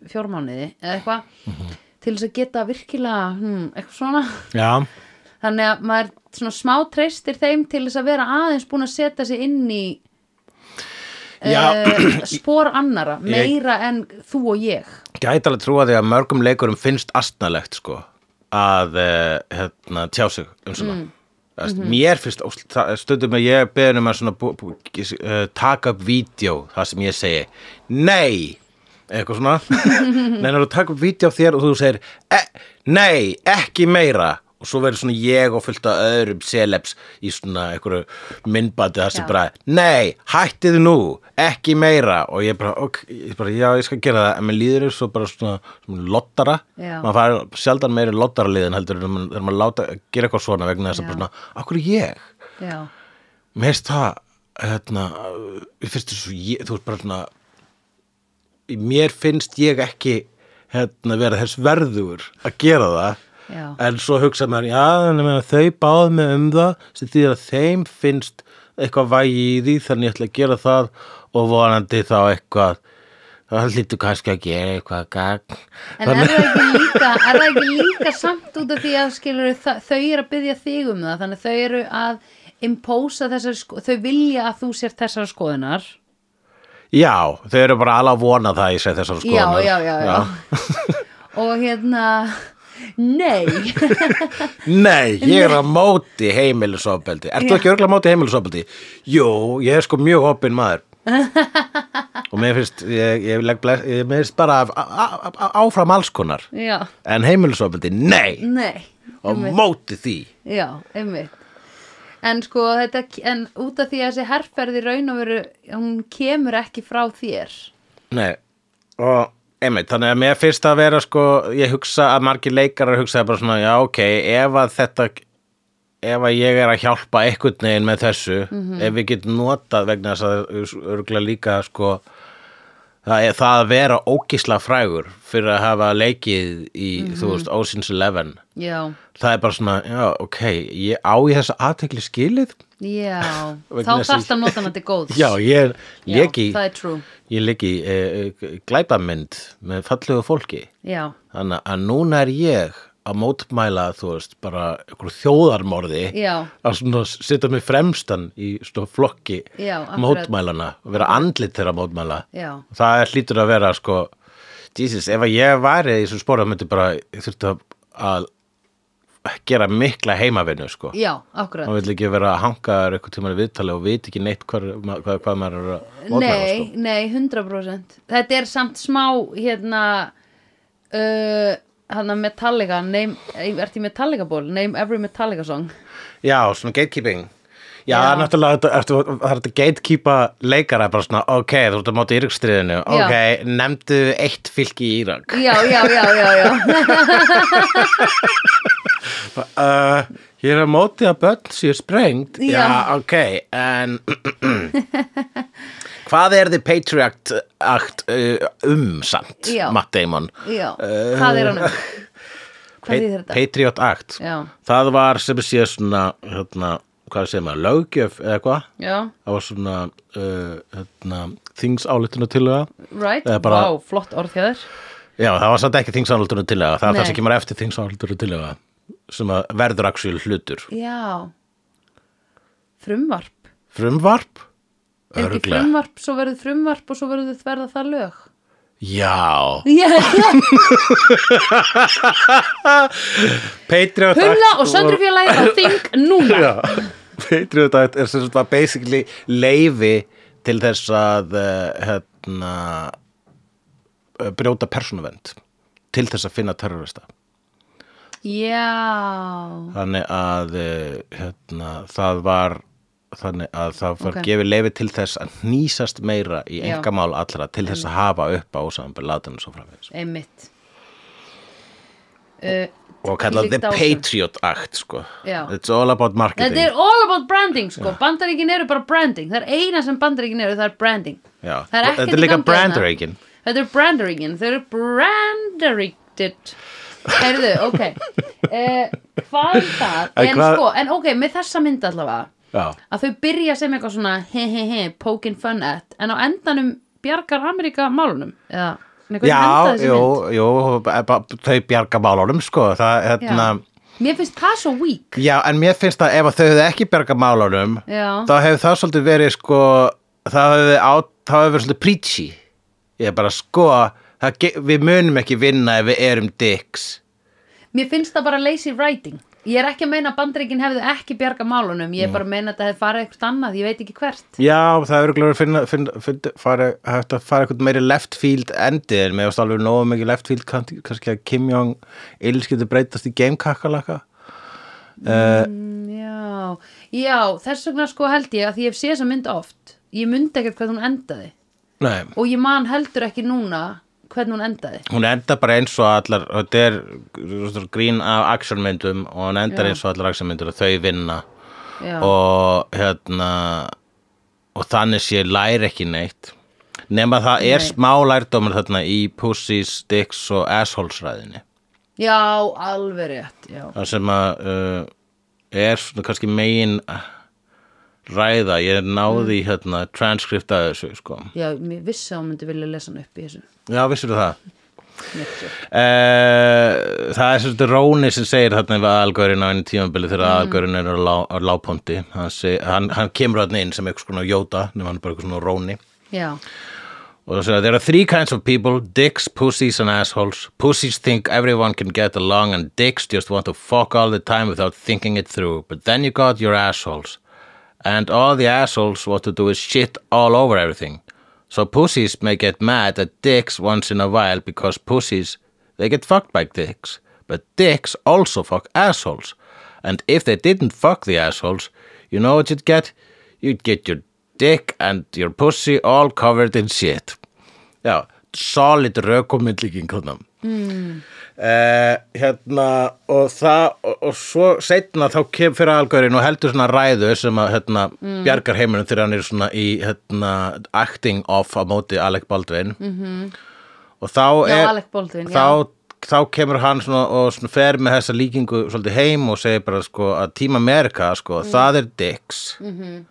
S1: fjórmánuði eða eitthvað til þess að geta virkilega, hmm, eitthvað svona
S2: já,
S1: þannig að maður svona smá treystir þeim til þess að vera aðeins búin að setja sig inn í
S2: Já.
S1: eh, spor annara meira en þú og ég
S2: gæti alveg trúa því að mörgum leikurum finnst astnalegt sko að eh, hérna, tjá sig um svona mm.
S1: Mhm.
S2: mér finnst ósl- það- stundum að ég er beðin um að svona bú, bú, gis- eh, taka upp vídeo það sem ég segi nei eitthvað svona nei, þú taka upp vídeo af þér og þú segir e nei, ekki meira og svo verður svona ég og fullt af öðrum celebs í svona einhverju myndbandi þar
S1: Já.
S2: sem bara nei, hættið nú, ekki meira og ég bara, ok, ég bara já, ég skal gera það en mér líður þér svo bara svona, svona lottara,
S1: Já.
S2: maður fær sjaldan meiri lottara liðin heldur en maður- þegar maður láta gera eitthvað svona vegna þess að
S1: Já.
S2: bara svona, akkur er ég
S1: já,
S2: mér finnst það hérna, mér finnst það svo ég, þú veist bara svona mér finnst ég ekki hérna, vera þess verður að gera það
S1: já,
S2: en svo hugsa maður, já, en ég meina, þau báðu mig um það sem því að þeim finnst eitthvað vægi í því þannig ég ætla að gera það og vonandi þá eitthvað það hlýtu kannski að gera eitthvað gagn
S1: En er það ekki líka, er það ekki líka samt út af því að skilur þau eru að byggja þig um það þannig að þau eru að impósa þessar sko, þau vilja að þú sér þessar skoðunar
S2: já, þau eru bara alveg að vona það að ég segi þessar
S1: já,
S2: skoðunar
S1: já, já, já. og hérna nei,
S2: Nei, ég er á móti heimilisofbeldi Ertu ekki örgulega móti heimilisofbeldi? Jú, ég er sko mjög opinn maður Og mér finnst ég, ég, legg bless, ég mér finnst bara af- á- á- á- áfram alls konar
S1: já,
S2: En heimilisofbeldi, nei
S1: nei
S2: Og móti því
S1: já, einmitt en sko þetta, en út af því að þessi herrferði raun og veru, hún kemur ekki frá þér
S2: Nei, og einmitt, þannig að mér finnst að vera sko Ég hugsa að margir leikarar hugsa bara svona Já, ok, ef að þetta ef að ég er að hjálpa einhvern veginn með þessu
S1: Mhm.
S2: ef við getum notað vegna þess að örgulega líka sko það, er, það að vera ógisla frægur fyrir að hafa leikið í
S1: Mhm.
S2: þú veist, Ocean's Eleven
S1: já,
S2: það er bara svona, já, ok ég á í þessa aðtekli skilið
S1: já þá
S2: Vegna þess að-
S1: þarfst að nota hann til góðs
S2: já, ég
S1: Já,
S2: leiki
S1: það er true.
S2: ég leiki e, e, glæpamynd með fallegu fólki
S1: já,
S2: þannig að núna er ég að mótmæla, þú veist, bara einhverju þjóðarmorði
S1: já
S2: að svona setja mig fremstan í svona flokki
S1: Já, akkurat.
S2: mótmælana og vera andlit þeirra mótmæla
S1: Já.
S2: það er hlýtur að vera sko Jesus, ef að ég væri í þessu spóra myndi bara, ég þurfti að, að gera mikla heimavinnu sko
S1: Já, akkurat.
S2: maður vill ekki vera að hanga eitthvað tíma í viðtali og viti ekki neitt hvað, hvað, hvað maður er að mótmæla sko.
S1: Nei, nei, 100%. Þetta er samt smá, hérna, uh, hann að Metallica, name, ert í Metallica ból, name every Metallica song.
S2: sko já, svona gatekeeping Já,
S1: Já.
S2: náttúrulega þetta- ertu- það er þetta gatekeepa leikara bara svona, ok, þú ert að móti írkstriðinu, ok, nefndu eitt fylki í Írak.
S1: Já, já, já, já, já.
S2: Uh, ég er að móti að börn séu sprengt
S1: Já.
S2: ok, en Hvað er þið Patriot Act uh, um samt,
S1: Já.
S2: Matt Damon?
S1: já. Hvað er hann? Hvað er þetta?
S2: Patriot Act
S1: Já.
S2: Það var sem sé svona hérna, hvað segir maður, löggjöf eða hvað?
S1: Já,
S2: Það var svona uh, hérna, þingsáleituna til það
S1: right.
S2: Eða
S1: Vá,
S2: bara-
S1: flott orð hjá þér.
S2: Já, það var samt ekki þingsáleituna til það Það er
S1: Nei.
S2: það sem kemur eftir þingsáleituna til það sem að verður aksjúl hlutur
S1: Já. Frumvarp.
S2: Frumvarp?
S1: Er ekki
S2: Örugglega.
S1: frumvarp, svo verður frumvarp og svo verður þið verða það lög.
S2: Já,
S1: Já, já,
S2: Patriot
S1: Hulla og söndrufjölagi á þing núna
S2: Já, Patriot Act er sem sagt var basically leifi til þess að eh, hérna eh, brjóta persónuvend til þess að finna terrorista
S1: Já,
S2: þannig að eh, hérna, það var þannig að það var
S1: Ok.
S2: gefið leifi til þess að nýsast meira í
S1: Já.
S2: engamál allra til þess að hafa upp á samanbjörn latinu svo framvegis
S1: einmitt uh,
S2: og kallað The
S1: Þvílíkt ástand.
S2: Patriot Act sko.
S1: Já.
S2: it's all about marketing
S1: Þetta er all about branding sko, bandaríkin eru bara branding Það er eina sem bandaríkin eru, það er branding
S2: Já.
S1: Það er
S2: Þetta
S1: ekkert í
S2: er líka
S1: gangi þarna.
S2: brandaríkin.
S1: Þetta er brandaríkin, þau eru brandaríktit Heyrðu, ok uh, Hvað er það?
S2: En
S1: En,
S2: hvað-
S1: sko, en ok, með þessa mynd allavega
S2: Já.
S1: Að þau byrja sem eitthvað svona he he he, poking fun at En á endanum bjargar Ameríka málunum Eða, nei, hvernig
S2: Já,
S1: endaði þessi
S2: jú,
S1: mynd?
S2: jú, e- ba- þau bjarga málunum sko, það, hérna,
S1: Já. Mér finnst það svo weak
S2: já. en mér finnst að ef að þau hefðu ekki bjarga málunum
S1: Já.
S2: þá hefur það svolítið verið sko það hefur hef verið svolítið preachy ég er bara sko það, ge- við munum ekki vinna ef við erum dicks
S1: Mér finnst það bara lazy writing Ég er ekki að meina að bandaríkin hefðu ekki bjarga málunum
S2: Mhm.
S1: Ég er bara að meina að það hefði farið eitthvað annað Ég veit ekki hvert
S2: Já, það hefur glæður að finna, finna, finna fara, hægt að fara eitthvað meiri left field endið en mér varst alveg nógu mikið left field kann- kannski að Kim Jong-il skyldi breytast í game kakalaka
S1: mm, Já, já, þess vegna sko held ég að því ég hef séð þessa mynd oft Ég myndi ekkert hvernig hún endaði
S2: Nei,
S1: Og ég man heldur ekki núna hvernig hún endaði
S2: hún endar bara eins og allar þetta er svona grín af actionmyndum og hún endar
S1: Já.
S2: eins og allar actionmyndur og þau vinna
S1: Já,
S2: og hérna og þannig sé læri ekki neitt nema það er
S1: Nei.
S2: smá lærdómur þarna í Pussy, Sticks og Assholes ræðinni
S1: já alveg rétt Já,
S2: það sem að uh, er svona kannski megin ræða, ég náði
S1: Mm.
S2: í hérna transkripta þessu sko
S1: já mér vissi að hún myndi vilja lesa hann upp í þessu
S2: já, vissir það
S1: Mér sé.
S2: Eh, það er svolítið Róni sem segir þarna við aðalgörin á einu tímabili þegar mm. aðalgörin er á, lá, á lágponti hann, seg, hann, hann kemur þarna inn sem eitthvað svona jóta nema hann er bara eitthvað svona Róni
S1: Já,
S2: og það segir there are three kinds of people dicks, pussies and assholes pussies think everyone can get along and dicks just want to fuck all the time without thinking it through but then you got your assholes and all the assholes want to do is shit all over everything so pussies may get mad at dicks once in a while because pussies they get fucked by dicks but dicks also fuck assholes and if they didn't fuck the assholes you know what you'd get you'd get your dick and your pussy all covered in shit Já, solid rökumindlíking hérna. Mm. hérna og það og, og svo setna þá kem fyrir algörin og heldur svona ræðu sem að hérna,
S1: Mm.
S2: bjargar heiminum þegar hann er svona í hérna, acting off á móti Alec Baldwin -hmm. og þá
S1: Mhm. já
S2: er
S1: Alec Baldwin já.
S2: þá, þá kemur hann svona og svona fer með þessa líkingu svolítið heim og segir bara sko að Team America sko, það er dicks mm -hmm.
S1: Mhm.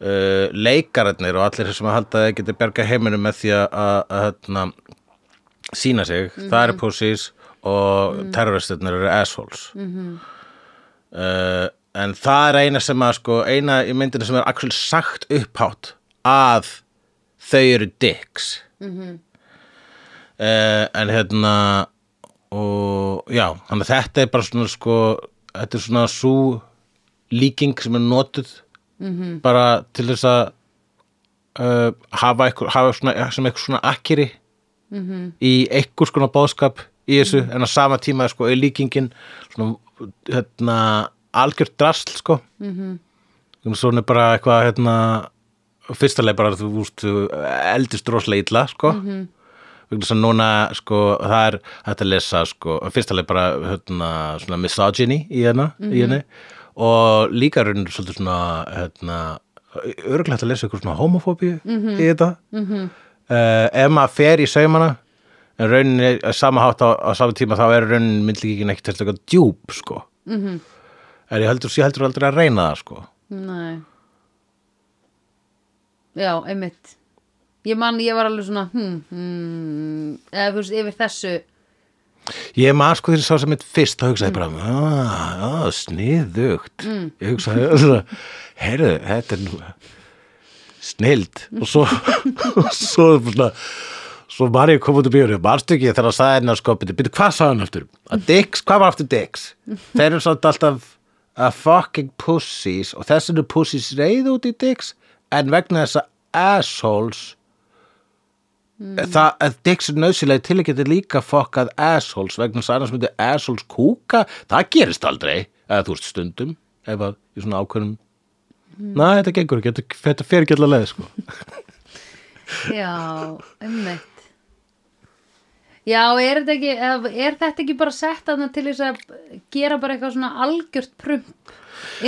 S2: uh, leikararnir og allir sem að halda að þeir geti berga heiminum með því að, að, að hérna, sína sig, það eru pussies og mm eru assholes mm uh, en það er eina sem að sko, eina í myndinu sem er actually sagt upphátt að þau eru dicks uh, en hérna og já, þannig að þetta er bara svona sko, þetta er svona svo líking sem er notuð -hmm. bara til þess að uh, hafa, einhver, hafa svona, sem eitthvað svona akkiri -hmm. í einhvers konar bóðskap í þessu, en á sama tíma sko, er líkingin svona hérna, algjört drasl sko -hmm. svona er bara eitthvað hérna, fyrsta leið bara þú úst, þú eldist roslega illa sko -hmm vegna þess að núna sko það er hægt að lesa sko fyrst alveg bara hérna, svona misogyny í hérna í henni og líka raun svolítið svona hérna örgulega hægt að lesa ykkur svona homofóbíu í þetta mm -hmm. ef maður fer í saumana en rauninni að sama hátt á, á sama tíma þá er rauninni myndlíkikin ekkert til eitthvað djúb sko mm -hmm. en ég heldur, ég heldur aldrei að reyna það sko
S1: Nei Já, einmitt Ég man, ég var alveg svona hmm, hmm, eða þú veist, yfir þessu
S2: Ég maður sko þegar ég sá sem mitt fyrst þá hugsaði ég bara, að, að, sniðugt ég hugsaði, svona, heyrðu, þetta er nú snild og svo, og svo, svona, svo var ég kom út úr bíóinu, varstu ekki þegar að sagði hennar sko, byrju, byrju, hvað sagði hann aftur? Að dicks, hvað var aftur dicks? Þeir eru svolítið alltaf að fucking pussies og þess eru pussies reið út í dicks en vegna þess að assholes það að dicks er nöðsilega til að geta líka fokkað assholes vegna þess að annars myndi assholes kúka, það gerist aldrei eða þú veist stundum ef að í svona ákveðnum Nei, þetta gengur ekki, þetta- þetta fer ekki allavega leið sko.
S1: Já, ummitt Já, er þetta ekki eða er þetta ekki bara sett að til þess að gera bara eitthvað svona algjört prump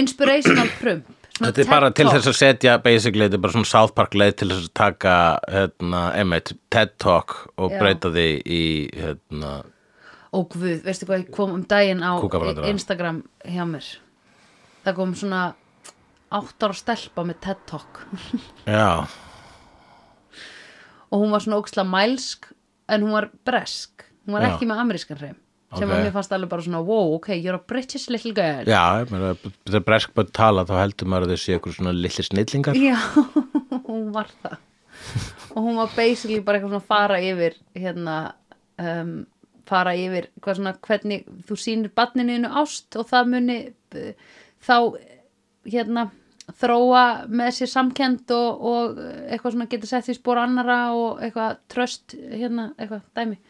S1: inspirational prump svona
S2: Þetta er bara
S1: TED
S2: til
S1: Talk.
S2: þess að setja basically, þetta er bara svona South Park leið til þess að taka hérna, einmitt, TED Talk og
S1: Já.
S2: breyta því í hérna,
S1: Ó guð, veistu hvað ég kom um daginn á
S2: Kúkabrandara.
S1: Instagram hjá mér Það kom svona áttar og stelpa með TED Talk
S2: já,
S1: og hún var svona óksla mælsk en hún var bresk hún var
S2: Já.
S1: ekki með amerískan hreim sem að
S2: Ok.
S1: mér fannst alveg bara svona wow, ok, you're a British little girl
S2: já, ég meina, þetta er bresk bara tala, þá heldur maður að þau séu ykkur svona lillir snillingar.
S1: Já, hún var það og hún var basically bara eitthvað svona að fara yfir hérna um, fara yfir hvað svona hvernig þú sýnir barninu innu ást og það muni uh, þá hérna þróa með sér samkend og, og uh, eitthvað svona getur sett því spór annara og eitthvað tröst hérna eitthvað dæmi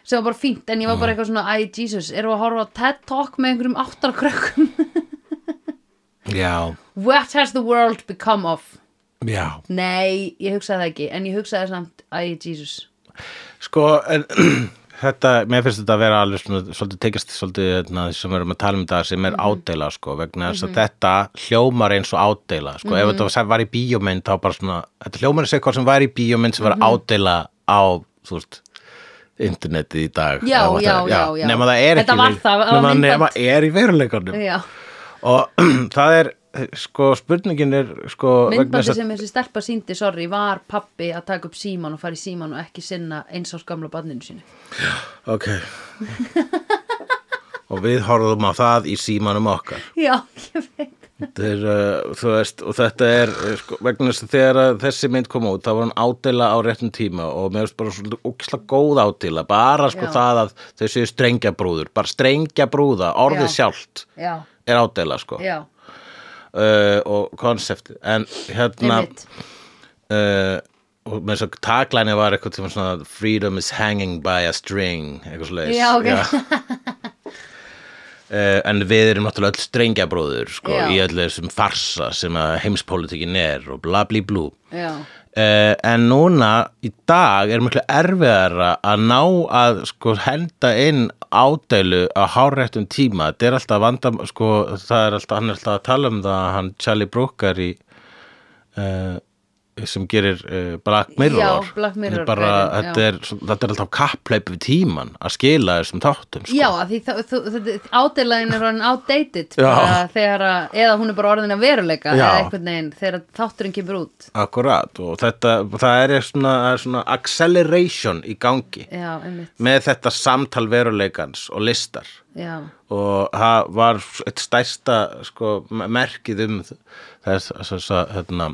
S1: sem var bara fínt en ég var bara eitthvað svona æ, Jesus, erum við að horfa á TED Talk með einhverjum áttara krökkum
S2: Já,
S1: What has the world become of?
S2: já.
S1: Nei, ég hugsaði það ekki, en ég hugsaði samt, æ, Jesus.
S2: Sko, en, þetta, mér finnst þetta að vera alveg svona, svolítið tekist svolítið hérna, því sem við erum að tala um þetta sem
S1: Mhm.
S2: er ádeila, sko, vegna þess að þetta hljómar eins og ádeila, sko,
S1: Mhm.
S2: ef þetta var- var í bíómynd, þá bara svona, þetta hljómar eins og eitthvað sem var í bíómynd sem var
S1: Mhm.
S2: ádeila á, þú veist, internetið í dag.
S1: Já,
S2: Eða var
S1: já,
S2: það-
S1: já, já.
S2: Nema það er
S1: Þetta
S2: ekki,
S1: var
S2: leik-
S1: það, það var
S2: nema,
S1: myndband.
S2: nema er í veruleikanum.
S1: Já,
S2: Og það er, sko, spurningin er, sko, vegna þess
S1: myndbandi
S2: að,
S1: sem þessi stelpa síndi, sorry, var pappi að taka upp síman og fara í síman og ekki sinna eins árs gamla barninu sínu.
S2: ok, og við horfum á það í símanum okkar.
S1: Já, ég veit.
S2: Þeir, uh, þú veist, og þetta er uh, sko, vegna þess að þegar að þessi mynd kom út þá var hann ádela á réttum tíma og mér finnst bara svolítið ókisla góð ádela bara sko
S1: Já.
S2: það að þau séu strengjabrúður bara strengjabrúða, orðið
S1: Já.
S2: sjálft
S1: Já,
S2: er ádela sko
S1: já,
S2: uh, og konsept en hérna
S1: einmitt.
S2: uh, og með þess að taglæni var eitthvað tíma svona freedom is hanging by a string eitthvað svo leiðis
S1: Já, ok.
S2: Eh, en við erum náttúrulega öll strengjabrúður sko,
S1: Já.
S2: í öllu þessum farsa sem að heimspolítikin er og bla bli blú
S1: Já,
S2: Uh, en núna í dag er miklu erfiðara að ná að sko, henda inn ádælu á hárættum tíma þetta er alltaf vandam sko, það er alltaf, hann er alltaf að tala um það að hann Charlie Brooker í uh, sem gerir uh, Black Mirror,
S1: Já, Black Mirror
S2: Þetta er bara,
S1: gærin, já.
S2: þetta, er, svo- þetta er alltaf kappleip við tíman að skila þessum þáttum sko.
S1: já að því það- þú- þetta ádelæðin er hann outdated
S2: Já.
S1: bara þegar að, eða hún er bara orðin að veruleika
S2: Já.
S1: eða einhvern veginn þegar að þátturinn kemur út.
S2: akkurat og þetta, það er svona, það er svona acceleration í gangi
S1: Já, einmitt,
S2: með þetta samtal veruleikans og listar
S1: já,
S2: og það var eitt stærsta sko, merkið um þess að hérna,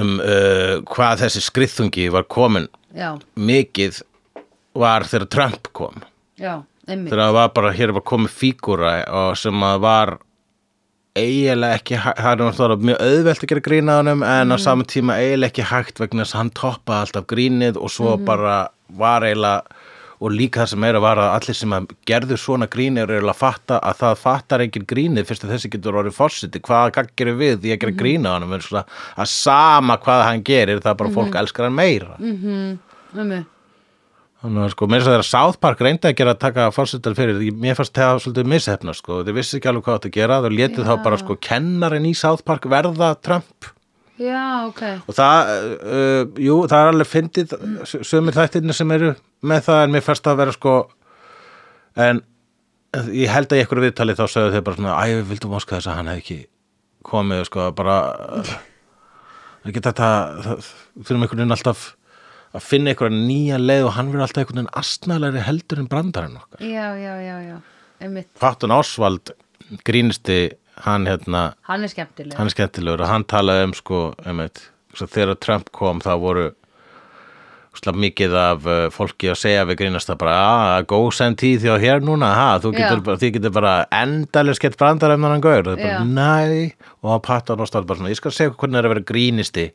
S2: um uh, hvað þessi skriðþungi var komin
S1: já,
S2: mikið var þegar Trump kom
S1: já, einmitt.
S2: þegar það var bara, hér var komið fígúra og sem að var eiginlega ekki, hæ- það er náttúrulega mjög auðvelt að gera grín að honum en á saman tíma eiginlega ekki hægt vegna þess að hann toppaði alltaf grínið og svo bara var eiginlega og líka það sem er að vara að allir sem að gerðu svona grín eru eiginlega að fatta að það fattar engin grínið fyrst að þessi getur orðið fórsiti hvaða gagn gerir við því að gera mm -hmm. grín að honum en svona að sama hvað hann gerir það er bara fólk elskar hann meira
S1: Einmitt.
S2: Þannig að sko, mér finnst að þeirra South Park reyndi að gera að taka fórsetar fyrir, ég- mér fannst það svolítið mishefna sko, þeir vissi ekki alveg hvað þetta gera, þeir letið þá bara sko kennarinn í South Park verða Trump
S1: Já, ok.
S2: og það, uh, jú, það er alveg fyndið s- sumir þættirnir sem eru með það en mér fannst það að vera sko, en eh, ég held að í einhverju viðtali þá sögðu þeir bara svona, æ, við vildum óska þess að hann hefði ekki komið sko, bara, það geta þetta, það- þurfum einhvern veginn alltaf að finna einhverja nýja leið og hann verður alltaf einhvern veginn astnalegri heldur en brandarinn okkar.
S1: Já, já, já, já, einmitt.
S2: Fattun Ásvald grínisti hann hérna,
S1: Hann er skemmtilega.
S2: hann er skemmtilegur og hann talaði um sko um eitt, þegar Trump kom þá voru ógeðslega mikið af uh, fólki að segja við grínast það bara að go send tíð þjá hér núna ha, þú
S1: Já.
S2: getur, bara, þið getur bara endalega skett brandar ef hann gaur og það er
S1: Já.
S2: bara næ og hann pattar og stáð bara svona ég skal segja ykkur hvernig það er að vera grínisti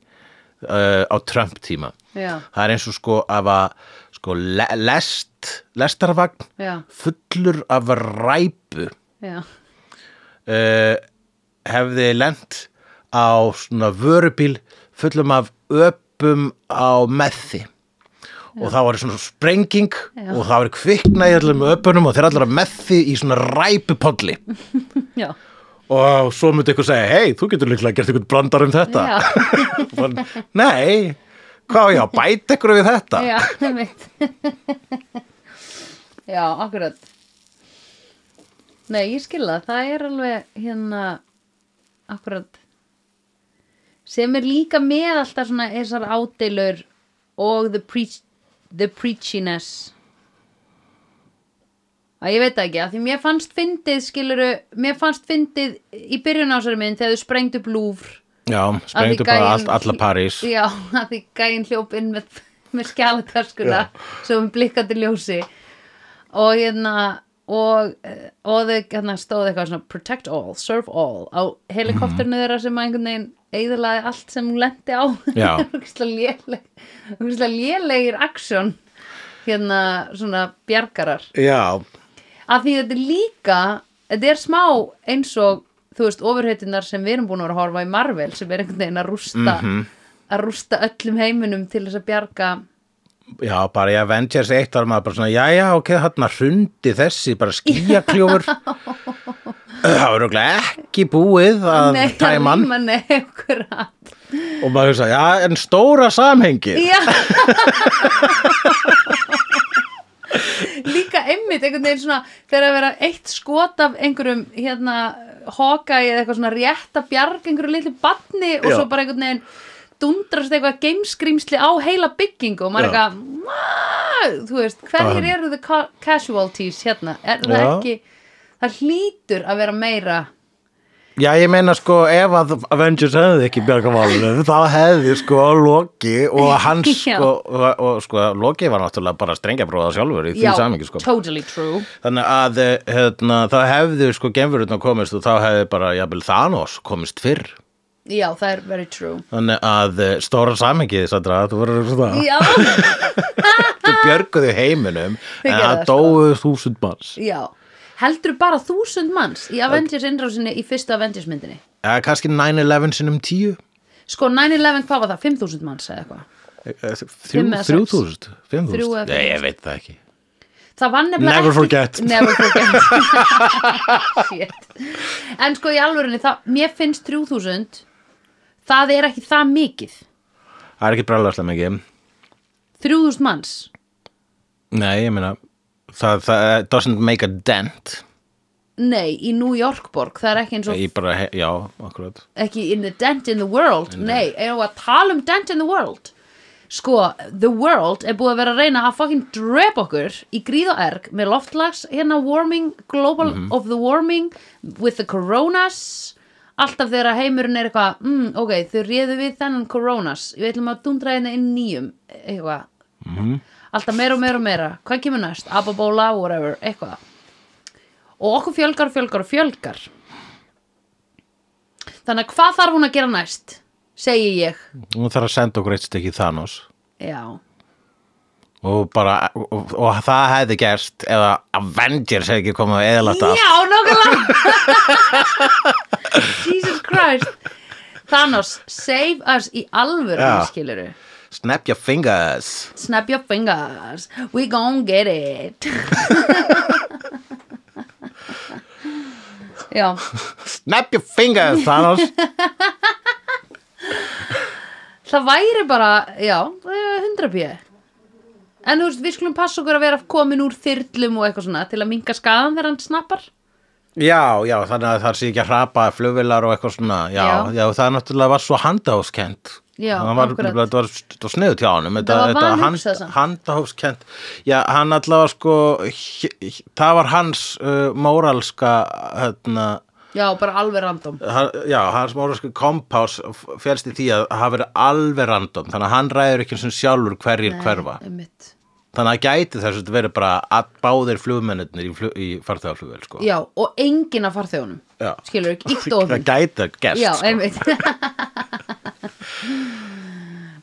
S2: uh, á Trump tíma
S1: Já.
S2: það er eins og sko af að sko le lest lestarvagn
S1: Já.
S2: fullur af ræpu
S1: já,
S2: uh, hefði lent á svona vörubíl fullum af öpum á methi og það var svona sprenging
S1: Já.
S2: og það var kvikna í öllum öpunum og þeir allar að methi í svona ræpupolli
S1: já,
S2: og svo myndi ykkur segja hei, þú getur líklega gert ykkur brandar um þetta
S1: Já.
S2: Bara, nei, hvað á ég að bæta ykkur við þetta
S1: já, einmitt. já, akkurat. Nei, ég skil það, það er alveg hérna, akkurat, sem er líka með alltaf svona þessar ádeilur og the, preach, the preachiness. Að ég veit það ekki, að því mér fannst fyndið, skiluru, mér fannst fyndið í byrjun ásari minn þegar þau sprengdu blúfr.
S2: já
S1: Að því
S2: sprengdu bara
S1: gæinn-
S2: all, alla París
S1: já, að því gæin hljóp inn með, með skjálataskuna sem blikkandi ljósi og hérna og, og þau hérna, stóð eitthvað svona protect all, serve all á helikopterinu
S2: Mhm.
S1: þeirra sem að einhvern veginn eigðalaði allt sem hún lendi á
S2: Já.
S1: ógislega lélegir aksjón hérna svona bjargarar
S2: já,
S1: af því þetta er líka þetta er smá eins og þú veist, ofurheitunar sem við erum búin að vera að horfa í Marvel sem er einhvern veginn að rústa
S2: Mhm.
S1: að rústa öllum heiminum til þess að bjarga
S2: já, bara í Avengers 1 var maður bara svona, já, já, ok, hann hrundi þessi, bara skýjakljúfur það var örugglega ekki búið að
S1: Nei, að
S2: tæma hann
S1: ríma, nei, akkurat.
S2: og maður hugsa, já, en stóra samhengi
S1: Já Líka einmitt einhvern veginn svona þegar að vera eitt skot af einhverjum hérna hóka eða eitthvað svona rétt að bjarga einhverju litlu batni og
S2: Já.
S1: svo bara einhvern veginn dundrast eitthvað gameskrýmsli á heila byggingu og maður
S2: Já.
S1: eitthvað "Vá!" þú veist, hverjir eru the ca casualties hérna, er það
S2: Já.
S1: ekki það hlýtur að vera meira
S2: Já, ég meina sko ef að Avengers hefði ekki bjargamálunum þá hefði sko Loki og hans
S1: Já.
S2: sko og, og sko Loki var náttúrulega bara strengja bróða sjálfur í því
S1: já,
S2: samingi sko
S1: totally true
S2: þannig að eh, hérna, það hefði sko genfurutna komist og þá hefði bara jafnvel Thanos komist fyrr
S1: já, það er very true
S2: þannig að eh, stóra samingi Sandra, þú verður svona
S1: já,
S2: þú björguðu heiminum
S1: Þau
S2: en
S1: gerðu
S2: það
S1: það, sko.
S2: dóu þúsund manns
S1: já heldur bara þúsund manns í Avengers innrásinni í fyrstu Avengers myndinni
S2: eða kannski 9-11 sinnum 10
S1: sko 9-11 hvað var það, 5000 manns eða eitthvað
S2: Eh, eh, þrjú-
S1: Fimm eða sex.
S2: 3000
S1: Þrjú eða fimm
S2: 5000 Nei, ég veit það ekki
S1: það var nefnilega
S2: Never
S1: ekki-
S2: forget.
S1: never forget Shit. en sko í alvörinni það, mér finnst 3000 það er ekki það mikið
S2: það er ekki bræðlega mikið
S1: 3000 manns
S2: Nei, ég meina það, það doesn't make a dent
S1: nei, í New York borg það er ekki eins og
S2: ég bara, he- já, akkurat
S1: ekki in the dent in the world nei, erum við að tala um dent in the world sko, the world er búið að vera að reyna að fucking drep okkur í gríð og erg með loftlags hérna warming, global of the warming with the coronas alltaf þegar heimurinn er eitthvað mm, ok, þau réðu við þennan coronas við ætlum að dundra hérna inn nýjum eitthvað, Mhm. alltaf meira og meira og meira hvað kemur næst, ababóla, whatever eitthvað og okkur fjölgar, og fjölgar og fjölgar Þannig að hvað þarf hún að gera næst? Segji ég.
S2: Nú þarf að senda okkur eitt stykki Thanos
S1: Já.
S2: og bara, og, og, og það hefði gerst eða Avengers hefði ekki komið að eðalata
S1: Já, nokkulega. Jesus Christ. Thanos, save us í alvöru,
S2: Já.
S1: skiluru.
S2: Snap your fingers
S1: Snap your fingers. We gon' get it. Já,
S2: Snap your fingers, Thanos
S1: það væri bara, já, eh, 100 bjöð. En þú veist, við skulum passa okkur að vera komin úr þyrlum og eitthvað svona til að minga skaðan þegar hann snappar.
S2: Já, já, þannig að það sé ekki að hrapa flugvilar og eitthvað svona Já,
S1: Já.
S2: já, það náttúrulega var svo handahófskent
S1: Já,
S2: það var,
S1: akkurat.
S2: Það var, það var sniðu tjá honum Þetta,
S1: var
S2: þetta
S1: vanhugsað samt.
S2: handahófskent Já, hann allavega sko h- h- það var hans uh, móralska hérna,
S1: já, bara alveg random
S2: hann, já, hans móralsku kompás félst í því að hafa verið alveg random þannig að hann ræður ekki sem sjálfur hverjir hverfa
S1: einmitt.
S2: þannig að gæti þess að verið bara að báðir flugmennirnir í, flug, í farþegaflugvel sko.
S1: já, og enginn af farþegunum
S2: Já.
S1: skilur ekki, ítt og
S2: það gæti að gerst
S1: já,
S2: sko.
S1: einmitt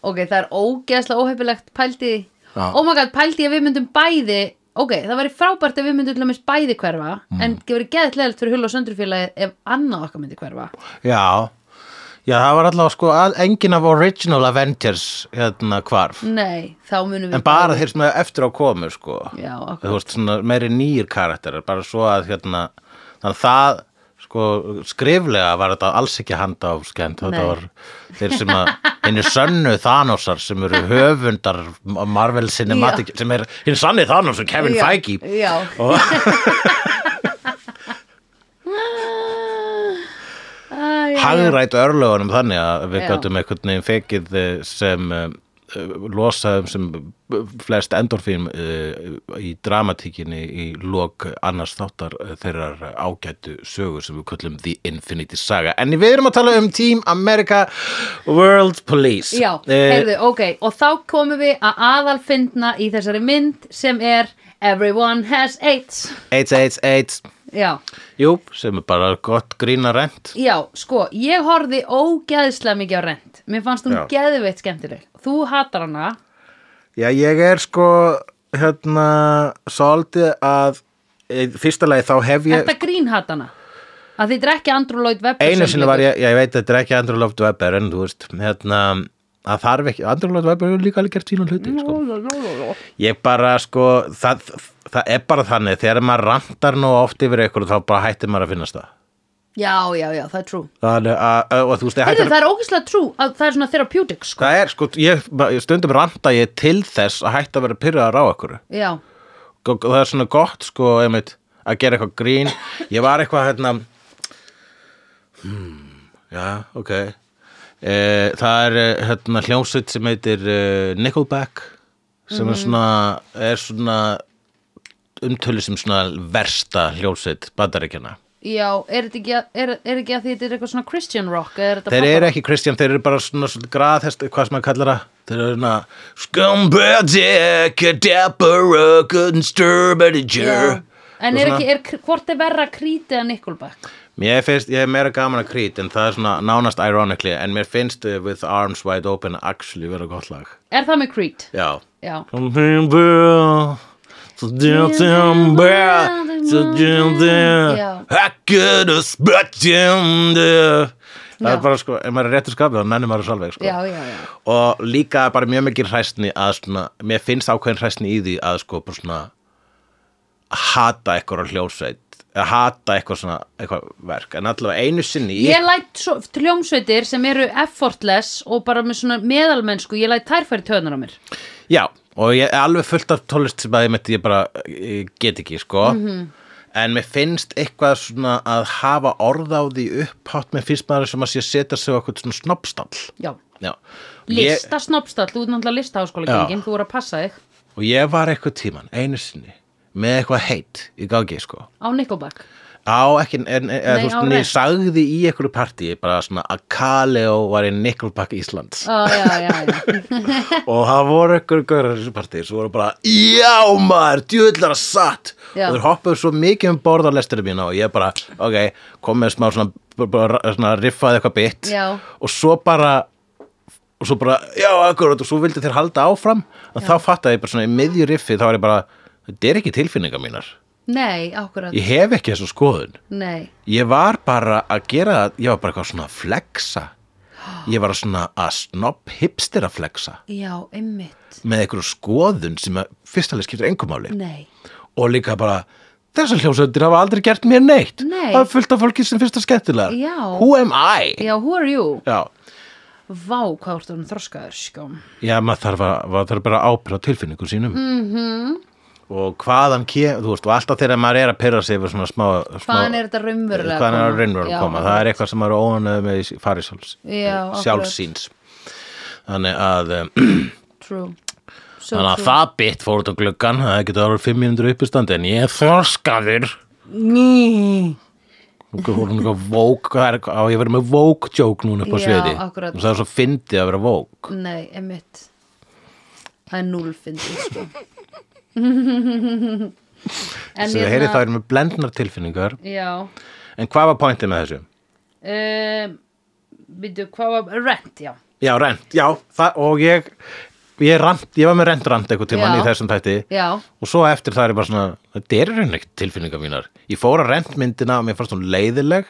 S1: ok, það er ógeðslega óhefilegt pældi
S2: Já.
S1: oh my god, pældi ég að við myndum bæði ok, það væri frábært ef við myndum til dæmis bæði hverfa
S2: Mm.
S1: en það verið geðlega fyrir hull og söndrufélagi ef annað okkar myndi hverfa
S2: já. já, það var allavega sko að, engin af original Avengers hérna hvarf
S1: nei, þá munum við
S2: en bara þeir sem eftir á komu sko.
S1: Mm. Já, akkurat.
S2: þú veist svona meiri nýjir karakterar bara svo að hérna þannig að það sko skriflega var þetta alls ekki handa á skend þetta
S1: Nei.
S2: var þeir sem að henni sönnu Thanosar sem eru höfundar Marvel Cinematic sem er henni sanni Thanos og Kevin
S1: Já,
S2: Feige
S1: já.
S2: og
S1: Æ, já, já.
S2: hagrætt örlögunum þannig að við
S1: Já.
S2: gætum einhvern veginn fekið eh, sem eh, losaðum sem eh, flest endorfín eh, í dramatíkinni í lok annars þáttar eh, þeirrar ágættu sögu sem við köllum The Infinity Saga en við erum að tala um Team America World Police
S1: Já,
S2: Eh,
S1: heyrðu, ok, og þá komum við að aðalfindna í þessari mynd sem er Everyone has AIDS
S2: 888
S1: Já,
S2: Jú, sem er bara gott grína rent
S1: já, sko, ég horfði ógeðslega mikið á rent Mér fannst hún
S2: Já.
S1: geðveitt skemmtileg Þú hatar hana
S2: Já, ég er sko hérna svolítið að í fyrsta lagi þá hef ég
S1: Þetta grín hatar hana Að þið er ekki Andrew Lloyd Webber
S2: einu
S1: sem
S2: sinni var
S1: leikur.
S2: ég, já, ég veit þetta er ekki Andrew Lloyd Webber en þú veist, hérna að þarf ekki, Andrew Lloyd Webber hefur líka alveg gert sína hluti sko. ég bara sko það, það er bara þannig, þegar maður rantar nú oft yfir ykkur þá bara hættir maður að finnast það
S1: Já, já, já, það er true
S2: þannig að, að, og þú veist, ég
S1: Heyrðu,
S2: hættir
S1: það er ógeðslega true að það er svona therapeutic, sko
S2: það er sko, ég, ég stundum ranta ég til þess að hætta að vera pyrraðar á ykkur
S1: Já,
S2: og það er svona gott sko einmitt, að gera eitthvað grín ég var eitthvað hérna hmm, já, ok e, það er eh, hérna hljómsveit sem heitir uh, Nickelback sem
S1: Mhm.
S2: er svona er svona umtölu sem svona versta hljómsveit bandaríkjana
S1: já, er þetta ekki að, er, er ekki að því þetta er eitthvað svona Christian rock eða er þetta
S2: þeir
S1: pop-
S2: eru ekki Kristján, þeir eru bara svona, svona graðhest, hvað sem maður kallar það þeir eru svona scumbag, cadaver, good and
S1: Já.
S2: sturbager
S1: En er ekki, er, hvort er verra Creed eða Nickelback?
S2: Mér finnst, ég er meira gaman að Creed en það er svona nánast ironically en mér finnst uh, With Arms Wide Open actually vera gott lag
S1: Er það með Creed?
S2: Já
S1: Já,
S2: Something bell Something bell
S1: Já.
S2: Something bell I could have spot him there Það er bara sko, ef maður er réttur skapið þá nennir maður að svolveg sko
S1: já, já, já.
S2: og líka bara mjög mikil hræstni að svona, mér finnst ákveðin hræstni í því að sko bara svona hata eitthvað hljósveit að hata eitthvað svona eitthvað verk en allavega einu sinni í-
S1: Ég læt svo, hljómsveitir sem eru effortless og bara með svona meðalmennsku, ég læt þær færi töðunar á mér.
S2: já, og ég er alveg fullt af tólest sem að ég myndi ég bara ég get ekki sko en mér finnst eitthvað svona að hafa orð á því upphátt mér finnst maður sem að sé að setja sig á eitthvað svona snoppstall
S1: Já.
S2: já Ég-
S1: Lista snoppstall, þú ert náttúrulega listaháskóla gengin, þú voru að passa þig
S2: og ég var eitthvað tíman, einu sinni með eitthvað heitt í gangi sko
S1: á Nickelback.
S2: Á, ekki, en, en, Nei,
S1: Nei,
S2: þú veist,
S1: á
S2: en ég
S1: rent.
S2: sagði í einhverju partí bara svona að Kaleo var í Nickelback Íslands
S1: Ó, já, já, já.
S2: og það voru einhverju gaurar í þessu partí svo voru bara, já maður, djúðlar að satt
S1: Já.
S2: og þeir hoppuðu svo mikið um borð á lesturinn mína og ég bara, ok, kom með smá svona, bara- bara, svona riffaði eitthvað bit
S1: Já.
S2: og svo bara og svo bara, já, akkurat, og svo vildi þeir halda áfram og þá fattaði ég bara svona í miðju riffi þá var ég bara, þetta er ekki tilfinningar mínar
S1: Nei, ákvörðan.
S2: ég hef ekki þessu skoðun
S1: Nei.
S2: Ég var bara að gera það, ég var bara eitthvað svona að flexa. Ég var svona að snopp hipster að flexa
S1: Já, einmitt.
S2: með einhverju skoðun sem að fyrstalega skiptir engumáli
S1: Nei.
S2: og líka bara þessar hljómsöndir hafa aldrei gert mér neitt.
S1: Nei.
S2: Það er fullt af fólki sem fyrsta skemmtilegar.
S1: Já.
S2: Who am I?
S1: Já, who are you?
S2: Já,
S1: Vá, hvað ertu hann þroskaður, sko.
S2: Já maður þarf, að, maður þarf bara að ábyrra tilfinningum sínum. Mm
S1: Mhm.
S2: -hmm. Og hvaðan kemur, þú veist, og alltaf þegar maður er að pyrra sig yfir svona smá... smá
S1: Hvaðan er þetta raunverulega að
S2: hvaðan er
S1: koma?
S2: raunverulega
S1: Já,
S2: að koma það er eitthvað sem maður er óanöðu með farisóls
S1: Já, akkurat.
S2: sjálfsýns þannig að, um,
S1: True. So
S2: þannig að það bit fór út á gluggan það getur orðið 5 mínútur uppistandi en ég er þorskaður
S1: Ný.
S2: Nú er hún eitthvað vók, hvað er, á ég að vera með vók-jók núna upp á
S1: Já,
S2: sviði.
S1: akkurat.
S2: Og það er svo fyndið að vera vók.
S1: Nei, emitt Það er núl fyndið sko En
S2: Þegar heyri það er með blendnar tilfinningar.
S1: Já
S2: En hvað var pointið með þessu?
S1: um, Býtu, hvað var Rent, já
S2: Já, rent, já, það, og ég, ég, rant, ég var með rent-rant eitthvað tímann
S1: Já.
S2: í þessum tætti.
S1: Já,
S2: Og svo eftir það er ég bara svona, þetta er raun ekkert tilfinningar mínar. Ég fór að rentmyndina og mér fannst hún leiðileg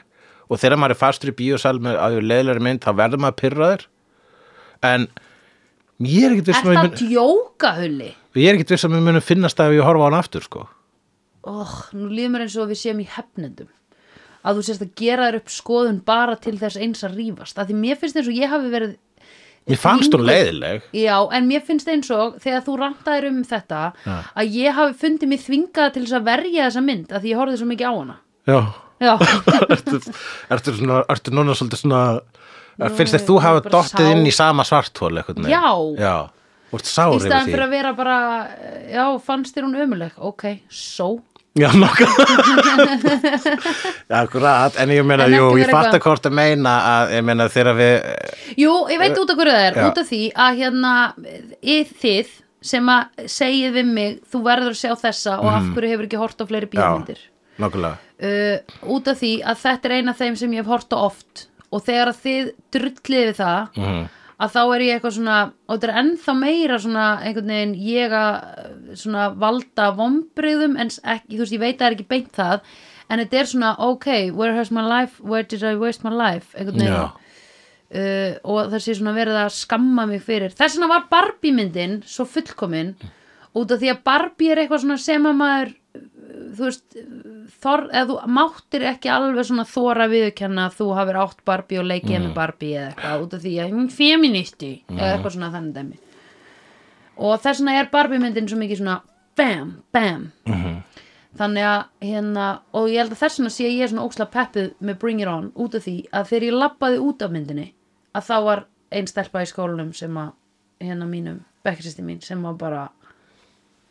S2: og þegar maður er fastur í bíósal með að leiðilegri mynd þá verður maður pyrraður. En ég er ekkert
S1: er
S2: viss um að
S1: það að
S2: ég mun-
S1: djóka hulli?
S2: ég er ekkert viss um að mér munum finnast það ef ég horfa á hann aftur, sko.
S1: Oh, nú líður mér eins og við séum í hefnendum að þú sérst að gera þér upp skoðun bara til þess eins að rífast að því mér finnst eins og ég hafi verið
S2: Mér fannst hún
S1: Þvinguð.
S2: leiðileg.
S1: já, en mér finnst eins og þegar þú rantaðir um þetta
S2: Já.
S1: að ég hafi fundið mér þvingaða til þess að verja þessa mynd að því ég horfði svo mikið á hana
S2: Já.
S1: já
S2: ertu, ertu, svona, ertu núna svolítið svona, finnst þér
S1: ég
S2: þú
S1: er
S2: hafa
S1: bara
S2: dottið
S1: sár.
S2: inn í sama svarthól eitthvað?
S1: Já.
S2: Já. Þú ert sár
S1: í
S2: yfir
S1: staðan
S2: því.
S1: fyrir að vera bara eh, já, fannst þér hún ömuleg, ok, so
S2: Já, nokkuð Akkurat, en ég meina,
S1: En ekki
S2: jú,
S1: vera
S2: ég fatt
S1: eitthvað-
S2: að hvort að meina að, ég meina, þegar við
S1: jú, ég veit út af hverju það er,
S2: Eh, já.
S1: út af því að hérna, í þið sem að segið við mig, þú verður að sjá þessa og
S2: Mhm.
S1: af hverju hefur ekki hort á fleiri bíómyndir
S2: nokkulega
S1: uh, út af því að þetta er eina af þeim sem ég hef hort á oft og þegar að þið drullið við það að þá er ég eitthvað svona og þetta er ennþá meira svona einhvern veginn ég að uh, svona valda vombriðum en s- ekki, þú veist ég veit að það er ekki beint það en þetta er svona ok, where has my life, where did I waste my life einhvern veginn
S2: Já.
S1: uh, og það sé svona verið að skamma mig fyrir þess vegna var Barbie myndin svo fullkomin út af því að Barbie er eitthvað svona sem að maður uh, þú veist uh, þor, eða þú máttir ekki alveg svona þóra viðurkenna að þú hafir átt Barbie og leikið með Barbie eða eitthvað út af því að hún feministi eða eitthvað svona þannig dæmi og þess vegna er Barbie myndin svo mikið svona bam, bam þannig að hérna og ég held að þess vegna sé ég svona óksla peppuð með Bring It On út af því að þegar ég labbaði út af myndinni að þá var ein stelpa í skólanum sem að hérna mínum, bekkisisti mín sem var bara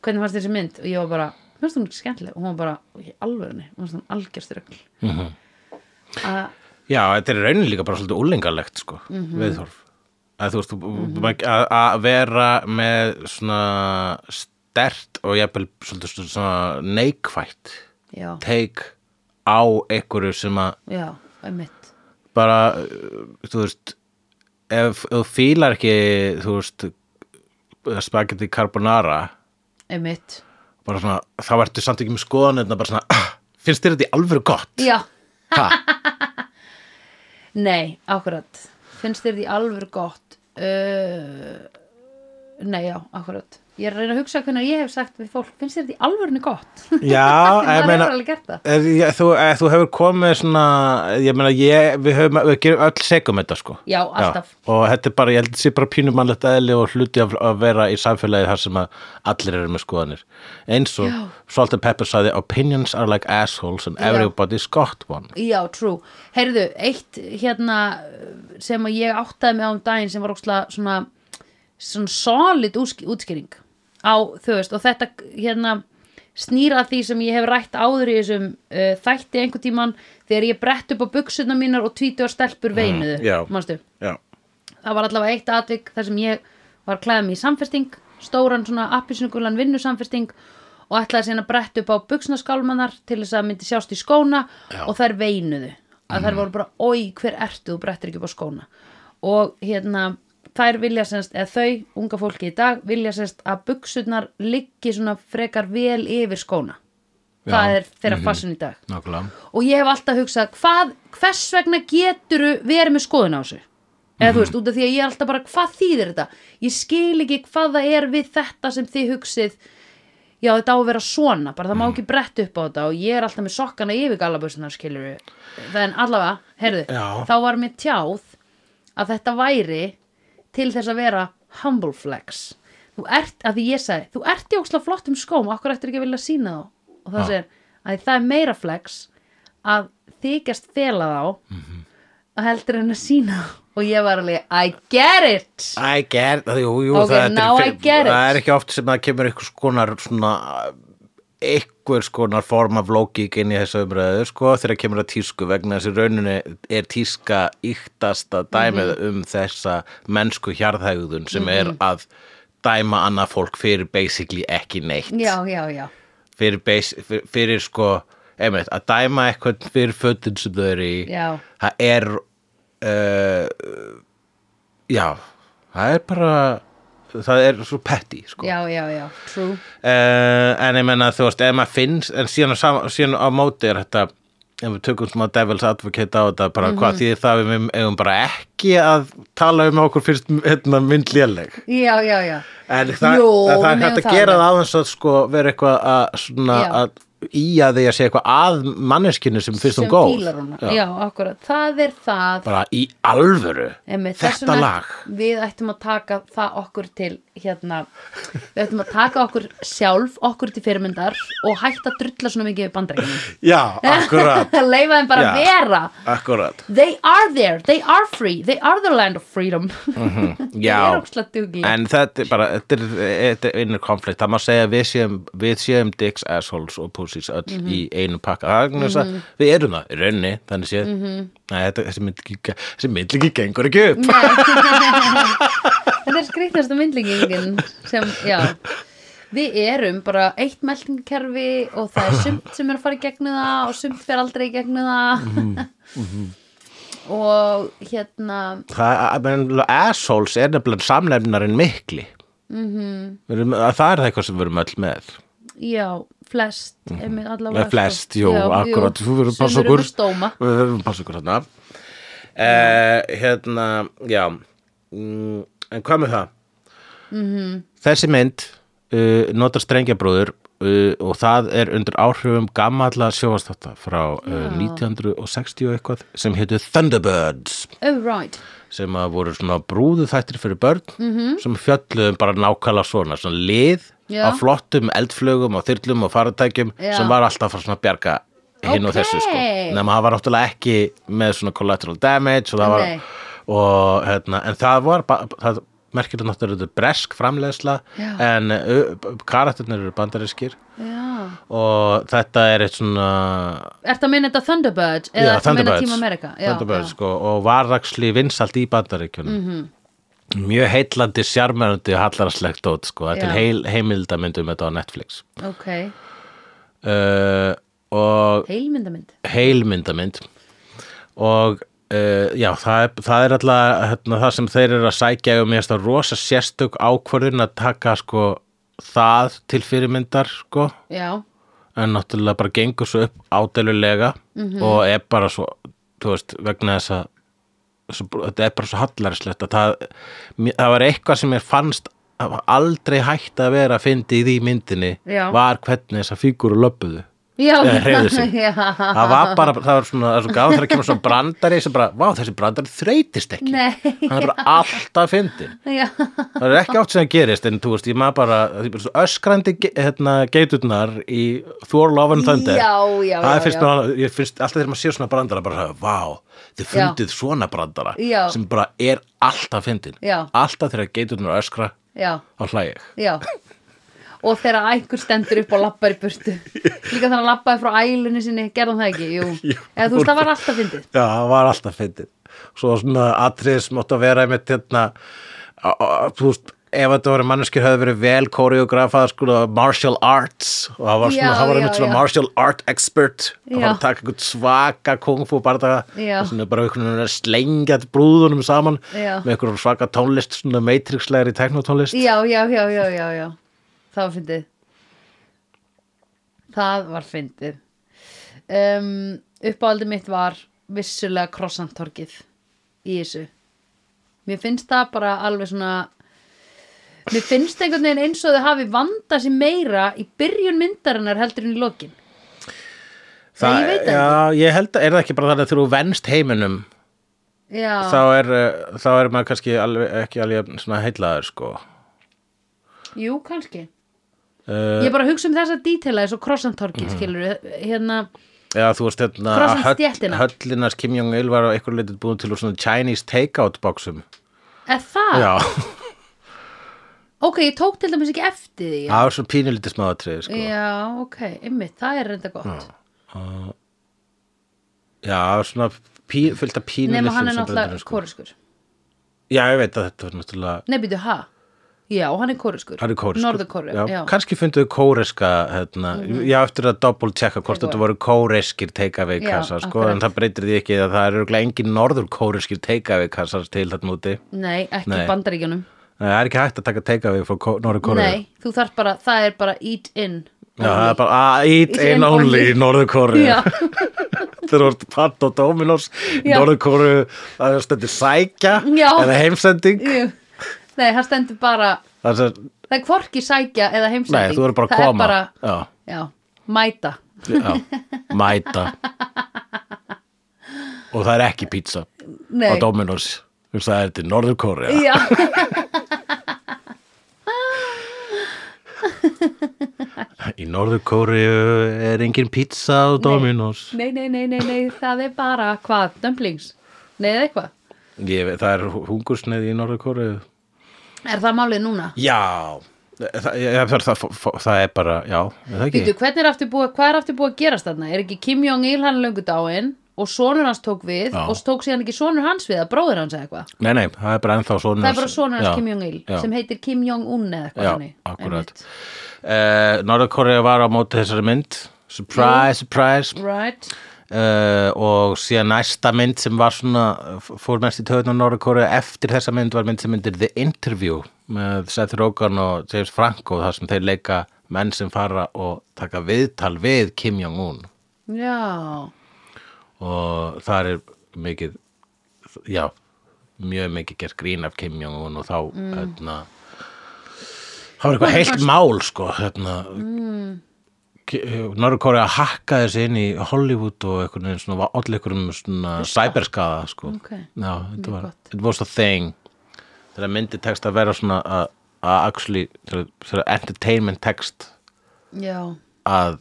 S1: hvernig fannst þessi mynd og ég var bara, mér finnst hún ekki skemmtileg og hún var bara, "Í alvörunni, mér finnst hún algjörströgl mm -hmm.
S2: Já, þetta er raunin líka bara svolítið úlengalegt, sko,
S1: Mhm.
S2: viðhorf að þú veist, þú- að, að vera með svona stert og jafnvel svolítið svona neikvætt
S1: já,
S2: teik á einhverju sem að
S1: já, einmitt
S2: bara, uh, þú veist ef ef þú fílar ekki þú veist spagetti carbonara
S1: einmitt,
S2: bara svona, þá ertu samt ekki með skoðanirna bara svona, ah, finnst þér þetta í alvöru gott?
S1: já,
S2: Ha,
S1: nei, akkurat finnst þér því alveg gott uh, nei, já, akkurat ég er að reyna að hugsa hvernig ég hef sagt við fólk finnst þér því alvörni gott
S2: já,
S1: Það
S2: ég
S1: hefur
S2: meina
S1: alveg gert það.
S2: er, ég, þú, er, þú hefur komið svona ég meina, ég, við, höfum, við gerum öll segum þetta sko
S1: Já, alltaf.
S2: og þetta er bara, ég held að þetta sé bara pínum mannlegt eðli og hluti af að vera í samfélagi þar sem að allir eru með skoðanir eins og
S1: Já.
S2: Salt and Pepper sagði opinions are like assholes and
S1: Já.
S2: everybody's got one
S1: Já, true. Heyrðu, eitt hérna sem að ég áttaði mig á um daginn sem var óksla svona, svona solid úsk- útskýring á þau veist og þetta hérna snýra því sem ég hef rætt áður í þessum uh, þætti einhvern tíman þegar ég brett upp á buksuna mínar og tvítur stelpur veinuðu,
S2: já.
S1: manstu?
S2: Já,
S1: það var allavega eitt atvik þar sem ég var að klæða mig í samfesting stóran svona appisnugulan vinnusamfesting og ætlaði síðan að bretta upp á buksnaskálmanar til þess að myndi sjást í skóna
S2: Já. Mhm.
S1: og þær veinuðu að þær voru bara, oi, hver ertu, þú brettir ekki upp á skóna og hérna þær vilja semst, eða þau, unga fólki í dag vilja semst að buksunar liggi svona frekar vel yfir skóna það
S2: Já. Mhm.
S1: er þeirra fassun í dag
S2: nákvæmlega
S1: og ég hef alltaf hugsað hvað, hvers vegna geturu verið með skoðun á þessu eða þú veist, út af því að ég er alltaf bara hvað þýðir þetta ég skil ekki hvað það er við þetta sem þið hugsið já þetta á að vera svona, bara það má ekki brett upp á þetta og ég er alltaf með sokkana yfir galabössunar skilur við, en allavega heyrðu,
S2: Já.
S1: þá var mér tjáð að þetta væri til þess að vera humble flex þú ert, að því ég sagði þú ert í óksla flottum skóm, okkur eftir ekki að vilja sína þá og það
S2: Já.
S1: segir að það er meira flex að þykjast fela þá að heldur en að sína þá og ég var alveg, I get it
S2: I get, jú, jú,
S1: Ok,
S2: það, þetta
S1: now
S2: er,
S1: I get it.
S2: það er ekki oft sem það kemur einhvers konar svona einhvers konar form af lógík inn í þessu umræðu sko þegar kemur að tísku vegna þessi rauninni er tíska yktasta dæmið
S1: Mhm.
S2: um þessa mennsku hjarðhægðun sem er að dæma annað fólk fyrir basically ekki neitt
S1: já, já, já
S2: fyrir, base, fyrir, fyrir sko einmitt, að dæma eitthvað fyrir fötin sem þau eru í
S1: Já.
S2: það er uh, já það er bara það er svo petty sko.
S1: Já, já, já, true
S2: uh, en ég menna þú veist ef maður finnst, en síðan á, sama, síðan á móti er þetta ef við tökum smá devils advocate á þetta bara
S1: Mhm.
S2: hvað því það við eigum bara ekki að tala um að okkur fyrst hérna, mynd léleg
S1: Já, já, já
S2: En það,
S1: Jú,
S2: það, það
S1: við
S2: er hægt
S1: megum
S2: að
S1: það
S2: gera
S1: alveg.
S2: það aðeins að sko vera eitthvað að svona
S1: Já.
S2: að í að því að segja eitthvað að manneskinu sem finnst hún
S1: Sem
S2: góð.
S1: fílar hana. Já, akkurat, það er það
S2: Bara í alvöru.
S1: Einmitt, þess
S2: þetta
S1: vegna
S2: lag.
S1: Við ættum að taka það okkur til hérna, við ættum að taka okkur sjálf okkur til fyrirmyndar og hætta að drulla svona mikið við bandreikinum
S2: Já, akkurat.
S1: Leifa þeim bara
S2: Já.
S1: að vera
S2: akkurat.
S1: They are there, they are free They are the land of freedom
S2: Mhm. Já.
S1: Ég er ókslega dugleg
S2: En þetta er bara, þetta er, þetta er innur konflikt, það má segja að við séum, við séum dicks, assholes og pussies öll
S1: Mhm.
S2: í einu pakka, það er mm -hmm. við erum það, í rauninni, þannig séð, mm
S1: Mhm.
S2: -hmm. Nei, þetta, þessi mynd ekki, þessi mynd ekki gengur ekki upp.
S1: Þetta er skrýtnasta myndlíkingin sem, já Við erum bara eitt meldingarkerfi og það er sumt sem er að fara í gegnum það og sumt fer aldrei í gegnum það
S2: Mhm,
S1: og hérna
S2: það, men, assholes er nefnilega samlefnarinn mikli mm -hmm. það er það eitthvað sem við erum öll með
S1: já, flest mm
S2: Með
S1: -hmm.
S2: Mhm. flest, jú, akkurat þú verður að passa okkur
S1: stóma.
S2: við verðum að passa okkur þarna eh, hérna, já mm, en hvað með það -hmm. þessi mynd uh, notar strengjabróður uh, og það er undir áhrifum gamalla sjóastátta frá uh, 1960 og eitthvað sem heitu Thunderbirds
S1: Oh right,
S2: sem að voru svona brúðu þættir fyrir börn -hmm. sem fjölluðum bara nákvæmlega svona, svona lið
S1: Mhm. Já.
S2: af flottum eldflögum og þyrlum og faratækjum
S1: Já.
S2: sem var alltaf að svona bjarga hinn og
S1: Ókei.
S2: þessu sko nema það var náttúrulega ekki með svona collateral damage og það var
S1: Nei.
S2: og, hérna, en það var ba- það merkir þetta náttúrulega þetta er bresk framleiðsla
S1: Já.
S2: en uh, karakternir eru bandarískir
S1: já
S2: og þetta er eitt svona
S1: Ertu að minna þetta Thunderbirds eða ertu að minna Team America? Já,
S2: Thunderbirds
S1: já. Mhm.
S2: sko, og varraksli vinsalt í bandaríkjunum mjög heitlandi, sjarmerandi og hallarslegt dót sko, þetta er
S1: Já.
S2: heil, heimildamyndum þetta á Netflix
S1: Ok,
S2: uh, og
S1: heilmyndamynd
S2: heilmyndamynd og Uh, já, það er, það er alltaf hérna, það sem þeir eru að sækja og mér finnst það rosa sérstök ákvörðun að taka sko það til fyrirmyndar sko
S1: Já,
S2: en náttúrulega bara gengur svo upp ádælulega
S1: Mhm.
S2: og er bara svo þú veist, vegna þess að svo, þetta er bara svo hallarslegt að það, mér- það var eitthvað sem mér fannst að var aldrei hægt að vera að fyndi í því myndinni
S1: Já.
S2: var hvernig þessa fígúru löppuðu
S1: já,
S2: Eða hreyfðu sig.
S1: já.
S2: það var bara, það var svona, það er svo gáð þegar kemur svona brandari sem bara, vá þessi brandari þreytist ekki
S1: Nei.
S2: hann er bara alltaf fyndin
S1: já.
S2: það er ekki átt sem það gerist en þú veist, ég maður bara, það er bara svo öskrandi ge- hérna, geiturnar í Thor Love and Thunder
S1: Já, já,
S2: það
S1: já,
S2: finnst
S1: já.
S2: mér, ég finnst alltaf þegar maður sér svona brandara bara, vá, þið fundið svona brandara
S1: Já.
S2: sem bara er alltaf fyndin,
S1: Já.
S2: alltaf þegar geiturnar öskra
S1: Já,
S2: á hlæg
S1: já Og þegar einhver stendur upp og lappar í burtu Líka þannig að lappaði frá ælunni sinni Gerðan það ekki, jú
S2: Jú.
S1: Eða þú veist, það var alltaf fyndið
S2: Já, það var alltaf fyndin svo svona atrið sem átt að vera einmitt hérna á- á- þú veist ef þetta voru manneskir höfðu verið vel koreografað sko martial arts og það var, svona,
S1: Já,
S2: það var
S1: já,
S2: einmitt svona
S1: já.
S2: martial art expert það var
S1: Já.
S2: að taka einhvern svaka kungfu bardaga
S1: Já.
S2: og svona bara einhvern veginn að slengja brúðunum saman
S1: Já.
S2: með einhverjum svaka tónlist svona matrixlegri teknotónlist
S1: Já, já, já, já, já, já Það var fyndið Það var fyndið um, Uppáaldið mitt var vissulega krossantorkið í þessu Mér finnst það bara alveg svona Mér finnst einhvern veginn eins og þau hafi vandað sér meira í byrjun myndarinnar heldur en í lokin Nei, ég veit það
S2: já, ég held að er það ekki bara þannig að þegar þú venst heiminum
S1: Já,
S2: þá er, uh, þá er maður kannski alveg, ekki alveg svona heillaður sko
S1: jú, kannski
S2: uh,
S1: Ég bara hugsa um þessa dítela eins og krossantorkið, mm. skilur Hérna,
S2: Já, þú veist hérna
S1: Krossan
S2: að
S1: stéttina.
S2: höllinas Kim Jong-il var á einhver leitið
S1: Ah,
S2: búin til úr svona Chinese take-out boxum.
S1: er það?
S2: Já.
S1: ok, ég tók til dæmis ekki eftir því
S2: það er svo pínulítið smáatrið
S1: Eh.
S2: sko.
S1: já, ok, ymmið, það er reynda gott
S2: já, svona pí, fullt af pínulítið sko.
S1: nema hann er náttúrulega kóreskur
S2: já, ég veit að þetta var náttúrulega
S1: nei, býtu, ha? já, hann er kóreskur
S2: hann er kóreskur
S1: norðurkóru,
S2: já,
S1: já, já. Mhm.
S2: kannski funduðu kóreska hérna, já, eftir að double checka
S1: Takeaway.
S2: hvort þetta voru kóreskir teikavei
S1: Já,
S2: kassar sko,
S1: akkurat.
S2: en það breytir því ekki að það eru örugglega engin norður kóreskir teikavei kassar til þarna úti
S1: nei, ekki
S2: Nei.
S1: í bandaríkjunum
S2: Nei, það er ekki hægt að taka teikavei frá norður kóru
S1: nei, þú þarf bara, það er bara eat in
S2: Já, það er bara að eat
S1: Eat
S2: in
S1: in
S2: only
S1: only.
S2: í Norður-Kóru
S1: Já.
S2: Þeir voru patt og Dominos í
S1: Já.
S2: Norður-Kóru það er stendur sækja
S1: Já.
S2: eða heimsending
S1: Jú. nei, það stendur bara
S2: það er sem,
S1: það er hvorki sækja eða heimsending
S2: Nei, þú verður bara
S1: það
S2: að koma
S1: er bara,
S2: já,
S1: já, mæta
S2: já, Mæta Og það er ekki pizza á
S1: nei,
S2: Dominos Þú veist, Það er til Norður-Kóru
S1: já,
S2: Í Norður-Kóru er engin pizza á Dominos
S1: nei, nei, nei, nei, nei það er bara hvað, dumplings nei, eða eitthvað,
S2: Ég, veit- Það er hungursneið í Norður-Kóru
S1: er það málið núna?
S2: Já Það, ég, það, það, það er bara, já, er það ekki?
S1: Býtu, hvernig er aftur búið, hvað er aftur búið að gerast þarna? Er ekki Kim Jong-il hann löngu dáin og sonur hans tók við
S2: Já.
S1: og tók síðan ekki sonur hans við að bróðir hans eða eitthvað?
S2: Nei, nei, það er bara ennþá sonur
S1: Það er bara sonur hans Kim
S2: já.
S1: Jong-il sem heitir Kim Jong-un eða eitthvað
S2: Já,
S1: þannig.
S2: akkurat.
S1: Einmitt.
S2: uh, Norðurkorea var á móti þessari mynd Surprise, surprise
S1: Right.
S2: uh, Og síðan næsta mynd sem var svona Fór næst í töðun á Norðurkorea Eftir þessa mynd var mynd sem myndir The Interview Með Seth Rogen og James Franco þar sem þeir leika menn sem fara og taka viðtal við Kim Jong-un
S1: Já.
S2: Og þar er mikið Já, mjög mikið gert grín af Kim Jong-un Og þá,
S1: Mm.
S2: hérna Það var eitthvað heilt mál sko hérna, mm. Norrkóri að hakka þessi inn í Hollywood og einhvern veginn svona var allir einhverjum svona cyberskaða sko
S1: Ok.
S2: Já, þetta var,
S1: gott.
S2: it was a thing þegar myndi text að vera svona að að actually, þegar- þegar entertainment text
S1: Já,
S2: að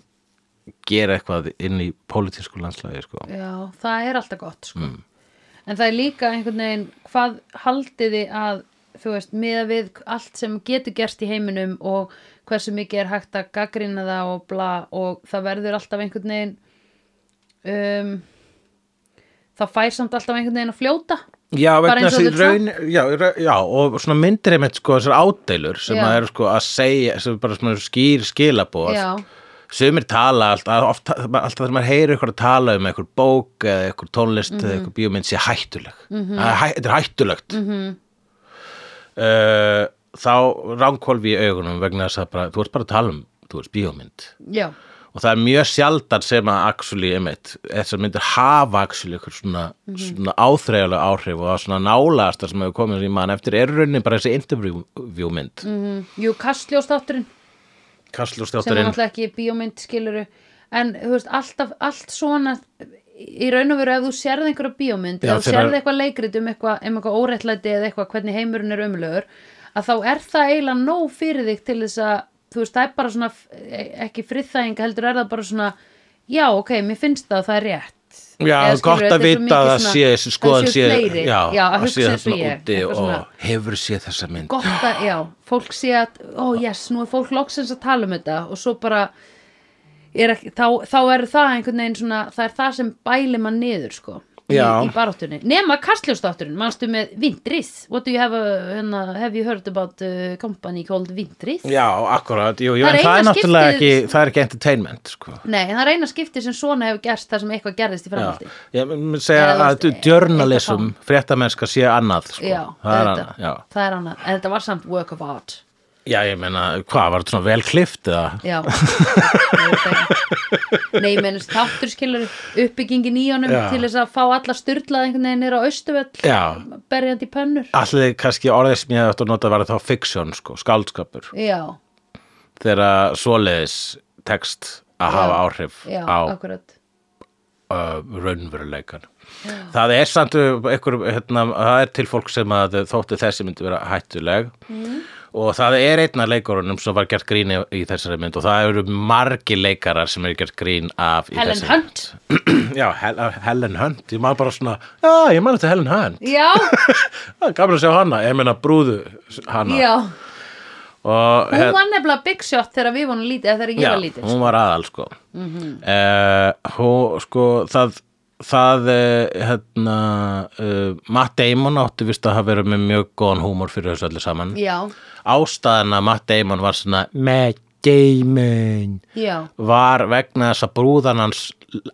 S2: gera eitthvað inn í pólitísku landslæði sko
S1: já, það er alltaf gott sko. En það er líka einhvern veginn, hvað haldiði að, þú veist, miða við allt sem getur gerst í heiminum og hversu mikið er hægt að gaggrina það og bla og það verður alltaf einhvern veginn, um, það fær samt alltaf einhvern veginn að fljóta.
S2: Já,
S1: Bara
S2: vegna
S1: eins og
S2: þessi
S1: The
S2: raun, já, ra- já, og svona myndir einmitt sko þessar ádeilur sem
S1: Já.
S2: að eru sko að segja, sem er bara svona skýr skilabóð
S1: Já.
S2: sumir tala alltaf, oft, alltaf þegar maður heyrir ykkur að tala um einhver bók eða einhver tónlist eða
S1: Mhm.
S2: einhver bíómynd sé hættuleg Það er hæ, þetta er hættulegt mm
S1: Mhm.
S2: þá ránkólfi í augunum vegna þess að bara, þú ert bara að tala um þú veist bíómynd
S1: Já,
S2: og það er mjög sjaldan sem að actually, einmitt, þessar myndir hafa actually ykkur svona,
S1: Mhm.
S2: svona áþreifulega áhrif og það svona nálaðasta sem hefur komið í mann eftir er raunin bara þessi interview mynd mm.
S1: mm jú, kastljóstátturinn sem er
S2: Kastlustjátturinn
S1: náttúrulega ekki bíómynd skiluru en þú veist, alltaf, allt svona í raun og veru ef þú sérð einhverja bíómynd
S2: Já,
S1: ef þú
S2: þegar-
S1: sérð eitthvað leikrit um eitthvað, um eitthvað óréttlæti eða eitthvað hvernig heimurinn er umlögur að þá er það eiginlega nóg fyrir þig til þess að þú veist, það er bara svona e- ekki friðþæging heldur er það bara svona já, ok, mér finnst það að það er rétt
S2: Já,
S1: Eða skilurðu,
S2: gott
S1: þetta
S2: að
S1: er svo
S2: vita að
S1: mikið
S2: það
S1: svona-
S2: sé þessi skoðan
S1: það séu fleiri,
S2: já,
S1: já, að
S2: að
S1: hugsa
S2: sé
S1: eins og
S2: þarna
S1: ég,
S2: úti
S1: eitthvað
S2: og
S1: svona.
S2: hefur sé þessa mynd
S1: gott að, já, fólk sé að ó, yes, nú er fólk loksins að tala um þetta og svo bara er ekki, þá, þá er það einhvern veginn svona það er það sem bæli mann niður sko í,
S2: Já.
S1: í baráttunni, nema kastljóstátturinn manstu með vindrið what do you have, uh, hérna, have you heard about uh, company called vindrið
S2: Já, akkurat, jú, jú,
S1: Það er
S2: en það er
S1: eina
S2: náttúrulega
S1: skiptið-
S2: ekki það er ekki entertainment, sko
S1: nei, en það er eina skipti sem svona hefur gerst þar sem eitthvað gerðist í
S2: Já,
S1: framhaldi
S2: ég mun segja
S1: Eða,
S2: að
S1: þú veist,
S2: journalism, fréttamennska sé annað, sko
S1: já,
S2: það er
S1: auðvitað.
S2: annað, já
S1: það er annað, en þetta var samt work of art
S2: Já, ég meina, hvað, var þetta svona vel klift eða?
S1: Já Ég veit ekki. Nei, mennast þáttur skilur uppbyggingin í honum
S2: Já.
S1: til þess að fá alla styrlað einhvern veginn er á austuvöll
S2: Já,
S1: berjandi í pönnur
S2: allir kannski orðið sem ég átt að nota var þá fiksjón, sko, skaldskapur
S1: Já,
S2: þegar að svoleiðis text að hafa áhrif
S1: já,
S2: á
S1: akkurat
S2: uh, raunveruleikan Það er samt ykkur, hérna, það er til fólk sem að þótti þessi myndi vera hættuleg
S1: Mm.
S2: og það er einna leikurunum sem var gert grín í, í þessari mynd og það eru margi leikarar sem eru gert grín af í
S1: Helen
S2: þessari
S1: Hunt
S2: Hunt Já, Hel Helen Hunt, ég maður bara svona Já, ég maður þetta Helen Hunt
S1: Já,
S2: Það er gaman að sjá hana, ég meina brúðu hana
S1: já,
S2: og
S1: Hún var nefnilega big shot þegar við vonum lítið, eða þegar ég var lítið.
S2: hún var aðal sko mm
S1: Mhm.
S2: hún, sko það það eh, hérna uh, Matt Damon átti vist að hafa verið með mjög góðan húmor fyrir þessu öllu saman
S1: Já,
S2: ástæðan að Matt Damon var svona Matt Damon
S1: já,
S2: var vegna þess að brúðan hans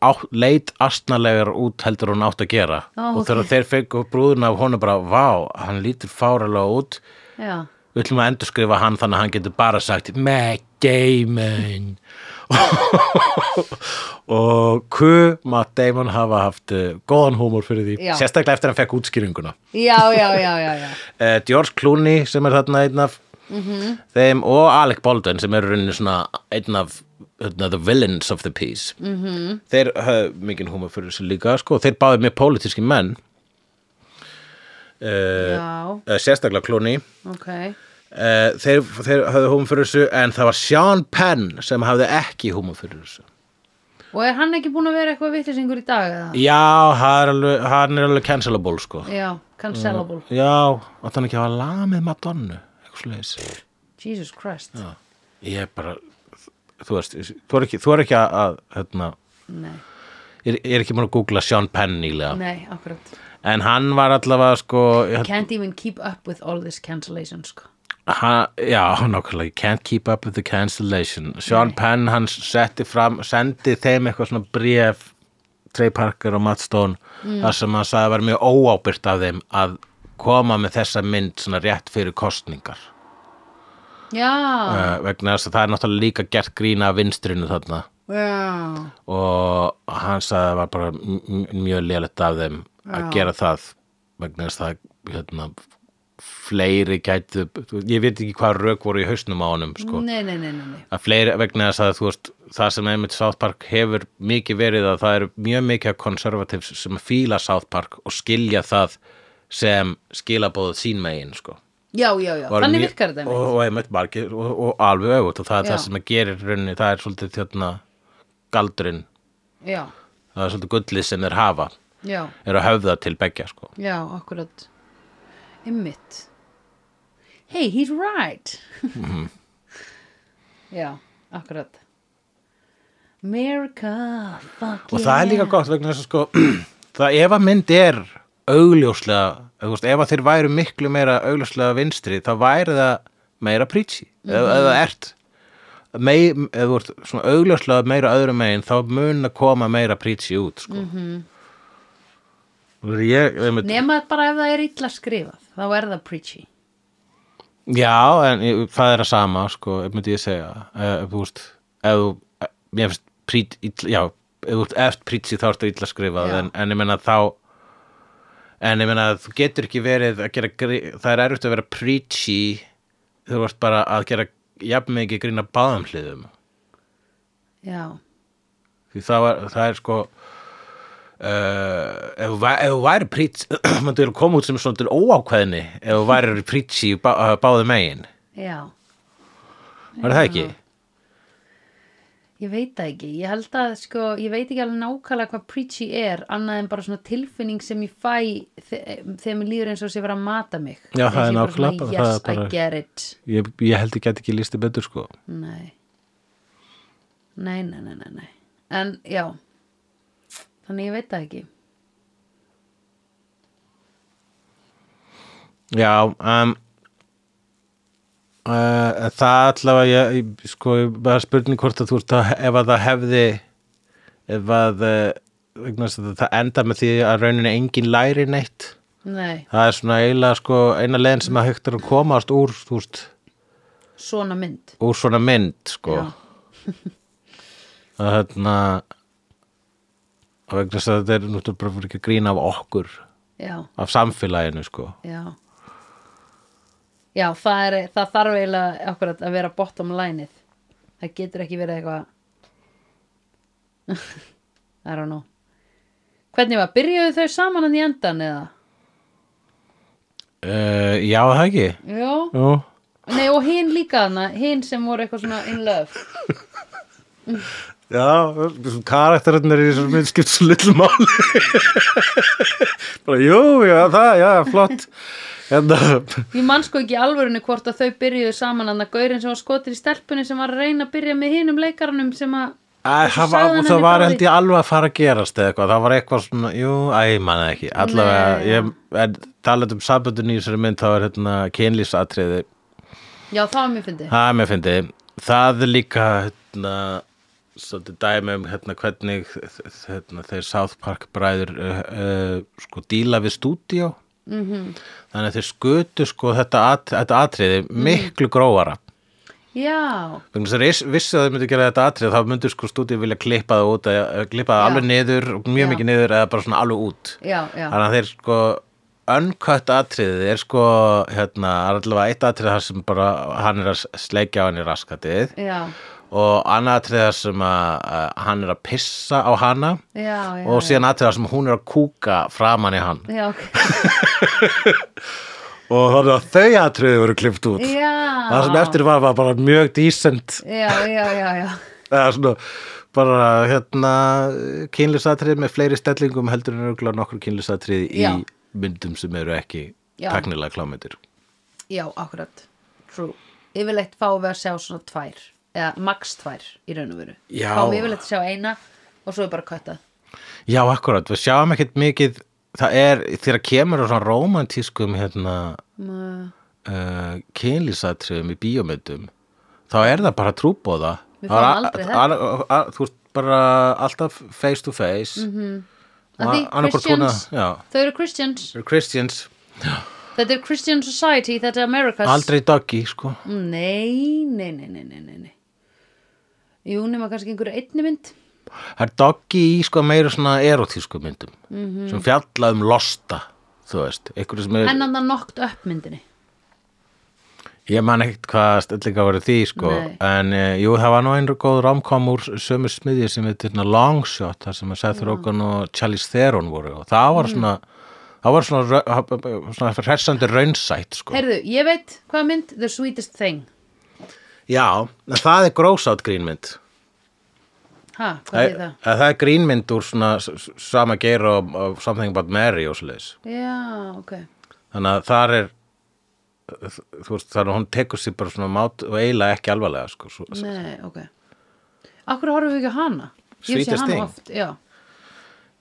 S2: á, leit astnalegar út heldur hún átt að gera
S1: Ó,
S2: og þegar þeir fengu brúðuna af honum bara vá, hann lítur fáralega út
S1: já.
S2: við ætlum að endurskrifa hann þannig að hann getur bara sagt Matt Damon og hvað Matt Damon hafa haft eh, góðan húmór fyrir því
S1: Já.
S2: sérstaklega eftir að hann fekk útskýringuna
S1: Já, já, já, já, já.
S2: uh, George Clooney sem er þarna einn af þeim og Alec Baldwin sem er rauninni svona einn af hérna, the villains of the piece -hmm. þeir höfðu mikinn húmor fyrir þessu líka sko, þeir báðu með pólitíski menn uh,
S1: Já,
S2: uh, sérstaklega Clooney
S1: ok.
S2: uh, þeir, þeir höfðu húmor fyrir þessu en það var Sean Penn sem hafði ekki húmor fyrir þessu
S1: Og er hann ekki búin að vera eitthvað vitlisingur í dag eða?
S2: já, hann er alveg, hann er alveg cancelable sko
S1: Já, cancelable.
S2: já, átt hann ekki að hafa lamið Madonna eitthvað sliðis
S1: Jesus Christ.
S2: ég er bara þú veist, þú er ekki, þú er ekki að, að hérna,
S1: Nei,
S2: ég er, ég er ekki múin að googla Sean Penn nýlega,
S1: nei, akkurat.
S2: en hann var allavega sko, hérna,
S1: Can't even keep up with all this cancellation, sko.
S2: hann, já, nákvæmlega can't keep up with the cancellation Sean Penn, hann setti fram sendi þeim eitthvað svona bréf Trey Parker og Matt Stone þar sem hann sagði að vera mjög óábyrgt af þeim að koma með þessa mynd svona rétt fyrir kostningar
S1: Já,
S2: uh, vegna þess að það er náttúrulega líka gert grína af vinstrinu þarna
S1: já,
S2: og hann sagði að það var bara m- m- mjög lélegt af þeim að gera það vegna þess að hérna, fleiri gætu ég veit ekki hvað rauk voru í hausnum á honum sko.
S1: nei, nei, nei, nei, nei.
S2: að fleiri vegna þess að þú veist það sem einmitt South Park hefur mikið verið að það eru mjög mikið konservativs sem fíla South Park og skilja það sem skilabóðu sín megin sko
S1: Já, já, já,
S2: var
S1: þannig
S2: mjög-
S1: virkar þetta
S2: og, og einmitt margir og, og alveg auðvitað og það er
S1: Já.
S2: það sem að gerir rauninni, það er svolítið þjóðna galdurinn
S1: mér. Já,
S2: það er svolítið gullið sem þeir hafa
S1: já,
S2: er að höfða til begja sko.
S1: já, akkurat. Ymmit. Hey, he's right.
S2: Mhm.
S1: já, akkurat. America, fuck
S2: og
S1: yeah.
S2: það er líka gott vegna þess að sko, það ef að mynd er augljóslega eða, þú veist, ef að þeir væru miklu meira augljóslega vinstri þá væri það meira prítsi mm eða, eða ert mei, eða þú ert svona augljóslega meira öðrum megin þá mun að koma meira prítsi út sko. mm -hmm. ég, einmitt,
S1: Nema bara ef það er illa skrifað, þá er það preachy.
S2: Já, en ég- það er að sama, sko, myndi ég segja, Eh, ef þú veist, ef þú, eh, mér finnst prít, ill, já, ef þú ert eft prítsi þá ertu illa skrifað,
S1: Já.
S2: en, en ég meina þá, en ég meina þú getur ekki verið að gera, grí- það er erfitt að vera prítsi, þú ert bara að gera jafn mikið grína báðum hliðum,
S1: Já,
S2: því það, var, það er sko, Uh, ef, þú væ- ef þú væri prítsi maður er að koma út sem svona til óákveðni ef þú væri prítsi bá, uh, báðu megin
S1: já.
S2: var það ekki?
S1: Ég veit það ekki, ég held að sko, ég veit ekki alveg nákvæmlega hvað preachy er annað en bara svona tilfinning sem ég fæ þe- þegar mér líður eins og sé vera að mata mig
S2: Já, það
S1: Eins og ég
S2: er
S1: bara
S2: nákvæmlega
S1: svona,
S2: bara-
S1: Yes,
S2: það er
S1: I
S2: bara-
S1: get it
S2: Ég, ég held ekki að ekki lísti betur sko
S1: Nei Nei, nei, nei, nei, nei En, já Þannig ég veit það ekki
S2: Já um, uh, Það allavega ég, ég, sko, ég bara spurning hvort að þú ert að ef að það hefði ef að uh, vegna þess að það enda með því að rauninni engin læri neitt
S1: Nei,
S2: það er svona eiginlega sko eina leiðin sem að hægt er að komast úr þú veist,
S1: svona mynd
S2: úr svona mynd sko
S1: Já.
S2: að hérna að vegna þess að þetta er náttúrulega bara fyrir ekki að grína af okkur
S1: Já,
S2: af samfélaginu sko
S1: já Já, það, er, það þarf eiginlega akkurat að vera bottom lineið Það getur ekki verið eitthvað I don't know Hvernig var, byrjuðu þau saman hann í endan eða?
S2: uh, Já, það ekki
S1: Já,
S2: Jú
S1: nei og hinn líka hana, hinn sem voru eitthvað svona in love
S2: Já, karakterinir í þessum mynd skipt svo litlu máli bara, jú, já, það, já, flott Hérna, en
S1: Ég man sko ekki í alvörinu hvort að þau byrjuðu saman að gaurinn sem var skotin í stelpunni sem var að reyna að byrja með hinum leikaranum sem að
S2: Æ, það
S1: sagði
S2: var,
S1: hann henni
S2: það var
S1: frá
S2: held
S1: því.
S2: ég alveg að fara að gerast eða eitthvað, það var eitthvað svona, jú, æ, ég manna ekki allavega,
S1: Nei.
S2: ég, en talað um samböndun í þessari mynd, þá er hérna kynlýsatriði,
S1: Já, það var mjög fyndið
S2: það er mér fyndi það er líka hérna, svolítið dæmi um hérna hvernig hérna, þeir South Park bræður uh, uh, sko díla við stúdíó
S1: Mhm.
S2: -hmm. þannig að þeir skutu sko þetta, at, þetta atriði
S1: Mhm.
S2: miklu grófara
S1: Já,
S2: Vegna þess að ris- vissu að þau myndu gera þetta atrið þá myndu sko stúdíu vilja klippa það út eða eh, klippa það
S1: Já.
S2: alveg niður, mjög
S1: Já.
S2: mikið niður eða bara svona alveg út
S1: já, já
S2: þannig að þeir sko uncut atriðið er sko hérna, það er allavega eitt atrið þar sem bara hann er að sleikja á henni raskatið
S1: Já,
S2: og annað atrið þar sem að, að hann er að pissa á hana
S1: já, já
S2: og síðan atrið þar sem hún er að kúka framan í hann
S1: Já, já, ok
S2: og þannig að þau atriðið voru klippt út
S1: Já.
S2: það sem eftir var, var bara mjög decent
S1: Já, já, já, já
S2: eða svona bara hérna kynlisatrið með fleiri stellingum heldur en örgulega nokkur kynlisatrið í
S1: Já.
S2: myndum sem eru ekki
S1: Já.
S2: taknilega klámyndir
S1: Já, akkurat, true Yfirleitt fáum við að sjá svona tvær eða max tvær í raun og veru
S2: Já.
S1: Fáum við yfirleitt að sjá eina og svo er bara köttað
S2: Já, akkurat, við sjáum ekkert mikið það er, þegar kemur á svona romantískum hérna
S1: Mm,
S2: uh, kynlisatriðum í bíómyndum þá er það bara trúbóða
S1: Við
S2: Það
S1: fáum
S2: er
S1: aldrei
S2: a- a- a- þú ert bara alltaf face to face mm
S1: Mhm.
S2: -hmm.
S1: Að því Christians,
S2: já,
S1: þau eru Christians
S2: Eru Christians
S1: Þetta er Christian Society, þetta er Americas Mm,
S2: aldrei doggy, sko
S1: Nei, nei, nei, nei, nei, nei, nei. Jú, nema kannski einhverju einni mynd
S2: Það er doggi í sko meira svona erotísku myndum
S1: Mhm.
S2: sem fjalla um losta þú veist, einhverju sem er
S1: En hann það nokt upp myndinni
S2: ég man ekkert hvað stellinga voru því sko,
S1: Nei.
S2: en e, jú, það var nú einhver góð romkom úr sömu smiðið sem heitir hérna, Long Shot, þar sem að Seth Rogen og Charlize Theron voru og það
S1: Mm.
S2: var svona það var svona, rau- svona hressandi raunsætt sko.
S1: Heyrðu, ég veit hvað mynd The Sweetest Thing
S2: Já, en það er grósátt grínmynd
S1: Ha, hvað
S2: það,
S1: er það?
S2: það er grínmynd úr svona s- s- sama geir og, og Something About Mary og svoleiðis
S1: Já, ok
S2: þannig að þar er þú veist, þannig að hún tekur sér bara svona mát og eiginlega ekki alvarlega sko, svo,
S1: Nei, ok Akkur horfum við ekki á hana? Ég sé
S2: Sweetest
S1: hana
S2: Thing?
S1: oft, já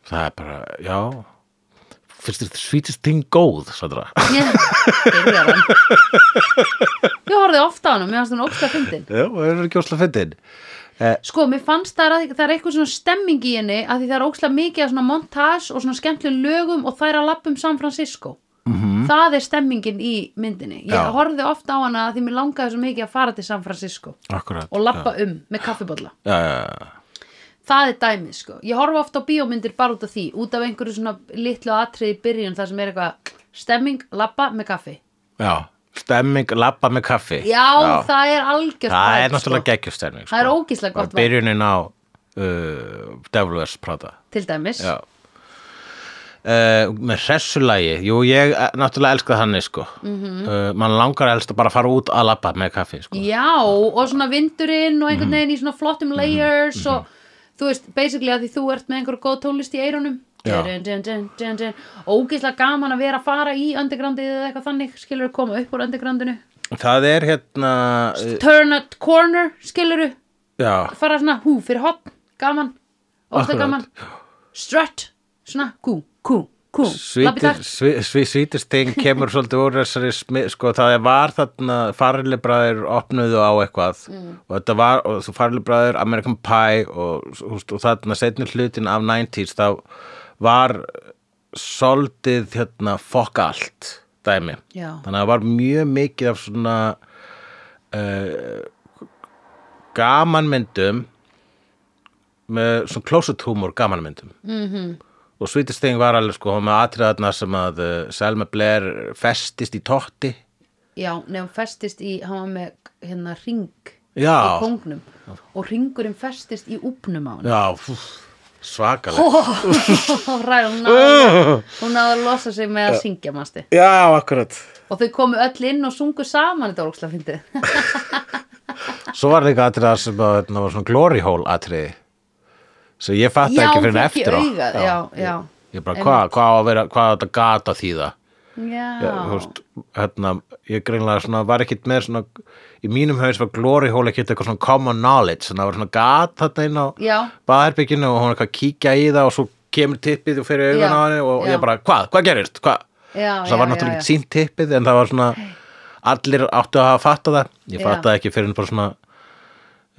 S2: það er bara, já finnst þér svítist þing góð Sandra?
S1: Ég, byrjar hann Ég horfði oft á hana, mér fannst hún ógsta fyndin
S2: já, það er ekki óslega fyndin
S1: Sko, mér fannst það að það er eitthvað svona stemming í henni að því það er ókslega mikið af svona montage og svona skemmtilegum lögum og þær að lappum San Francisco. -hmm. Það er stemmingin í myndinni. Ég
S2: Mhm. Já.
S1: horfði ofta á hana að því mér langaði svo mikið að fara til San Francisco
S2: akkurat
S1: og lappa um með kaffibólla.
S2: já, já, já.
S1: Það er dæmið, sko. Ég horfa ofta á bíómyndir bara út af því, út af einhverju svona litlu atriði í byrjun þar sem er eitthvað stemming, lappa með kaffi.
S2: já, stemming, labba með kaffi
S1: Já, það er algjörst
S2: það
S1: vibe,
S2: er náttúrulega
S1: sko.
S2: geggjustemning sko.
S1: Það er ógeðslega gott
S2: Og byrjunin á uh, Devil Wears Prada
S1: Til dæmis.
S2: já Uh, með hressulagi, jú ég eh, náttúrulega elska þannig sko mm
S1: Mhm.
S2: uh, mann langar elst að bara fara út að labba með kaffi sko.
S1: Já, og svona vindurinn og
S2: Mhm.
S1: einhvern veginn í svona flottum layers og þú veist, basically að því þú ert með einhverju góð tónlist í eyrunum
S2: Já.
S1: Dun, dun, dun, dun, dun. ógeðslega gaman að vera að fara í undergroundið eða eitthvað þannig, skilur koma upp úr undergroundinu
S2: það er hérna uh,
S1: turn a corner, skilur
S2: já,
S1: fara svona hú fyrir hopp, gaman ógeðslega
S2: Akkurat.
S1: gaman strut, svona kú, kú, kú lappið
S2: Svítir,
S1: þar,
S2: sví, sví, svítisting kemur svolítið úr þessari smi, sko, það var þarna farilibræður opnuðu á eitthvað og þetta var, og þú farilibræður American Pie og, og, og þarna setni hlutin af 90s þá var svolítið hérna fokk allt dæmi,
S1: Já.
S2: þannig að það var mjög mikið af svona uh, gamanmyndum með svona closet humor gamanmyndum og Sweetest Thing var alveg sko hún með atriðarna sem að uh, Selma Blair festist í totti
S1: já, nefn festist í hann var með hérna ring í
S2: Já.
S1: kongnum og ringurinn festist í úpnum á hann
S2: já, fúf, svakalega oh.
S1: Ræ, hún náði, hún náði að losa sig með að syngja manstu.
S2: já, akkurat
S1: og þau komu öll inn og sungu saman þetta orkslega fyndið
S2: svo var líka atriðar sem að hérna, var svona glory hole atriði sem ég fatt
S1: Já,
S2: ekki
S1: fékk
S2: fyrir
S1: ég
S2: eftir á
S1: augað, já, já.
S2: Ég, ég bara, hvað hva á að vera, hvað á þetta gata þýða
S1: Já,
S2: Ég, þú veist, hérna, ég greinlega svona var ekkit með svona, í mínum haus var glory hole ekkit eitthvað svona common knowledge þannig að það var svona gat þarna inn á
S1: Já.
S2: baðherbygginu og hún er eitthvað að kíkja í það og svo kemur tippið og fyrir augun
S1: Já,
S2: á henni
S1: já.
S2: og ég bara, hvað, hvað gerist, hvað
S1: já,
S2: það var
S1: já, já,
S2: náttúrulega ekki sínt tippið en það var svona, allir áttu að hafa fatta það, ég
S1: Já.
S2: fattaði ekki fyrir en bara svona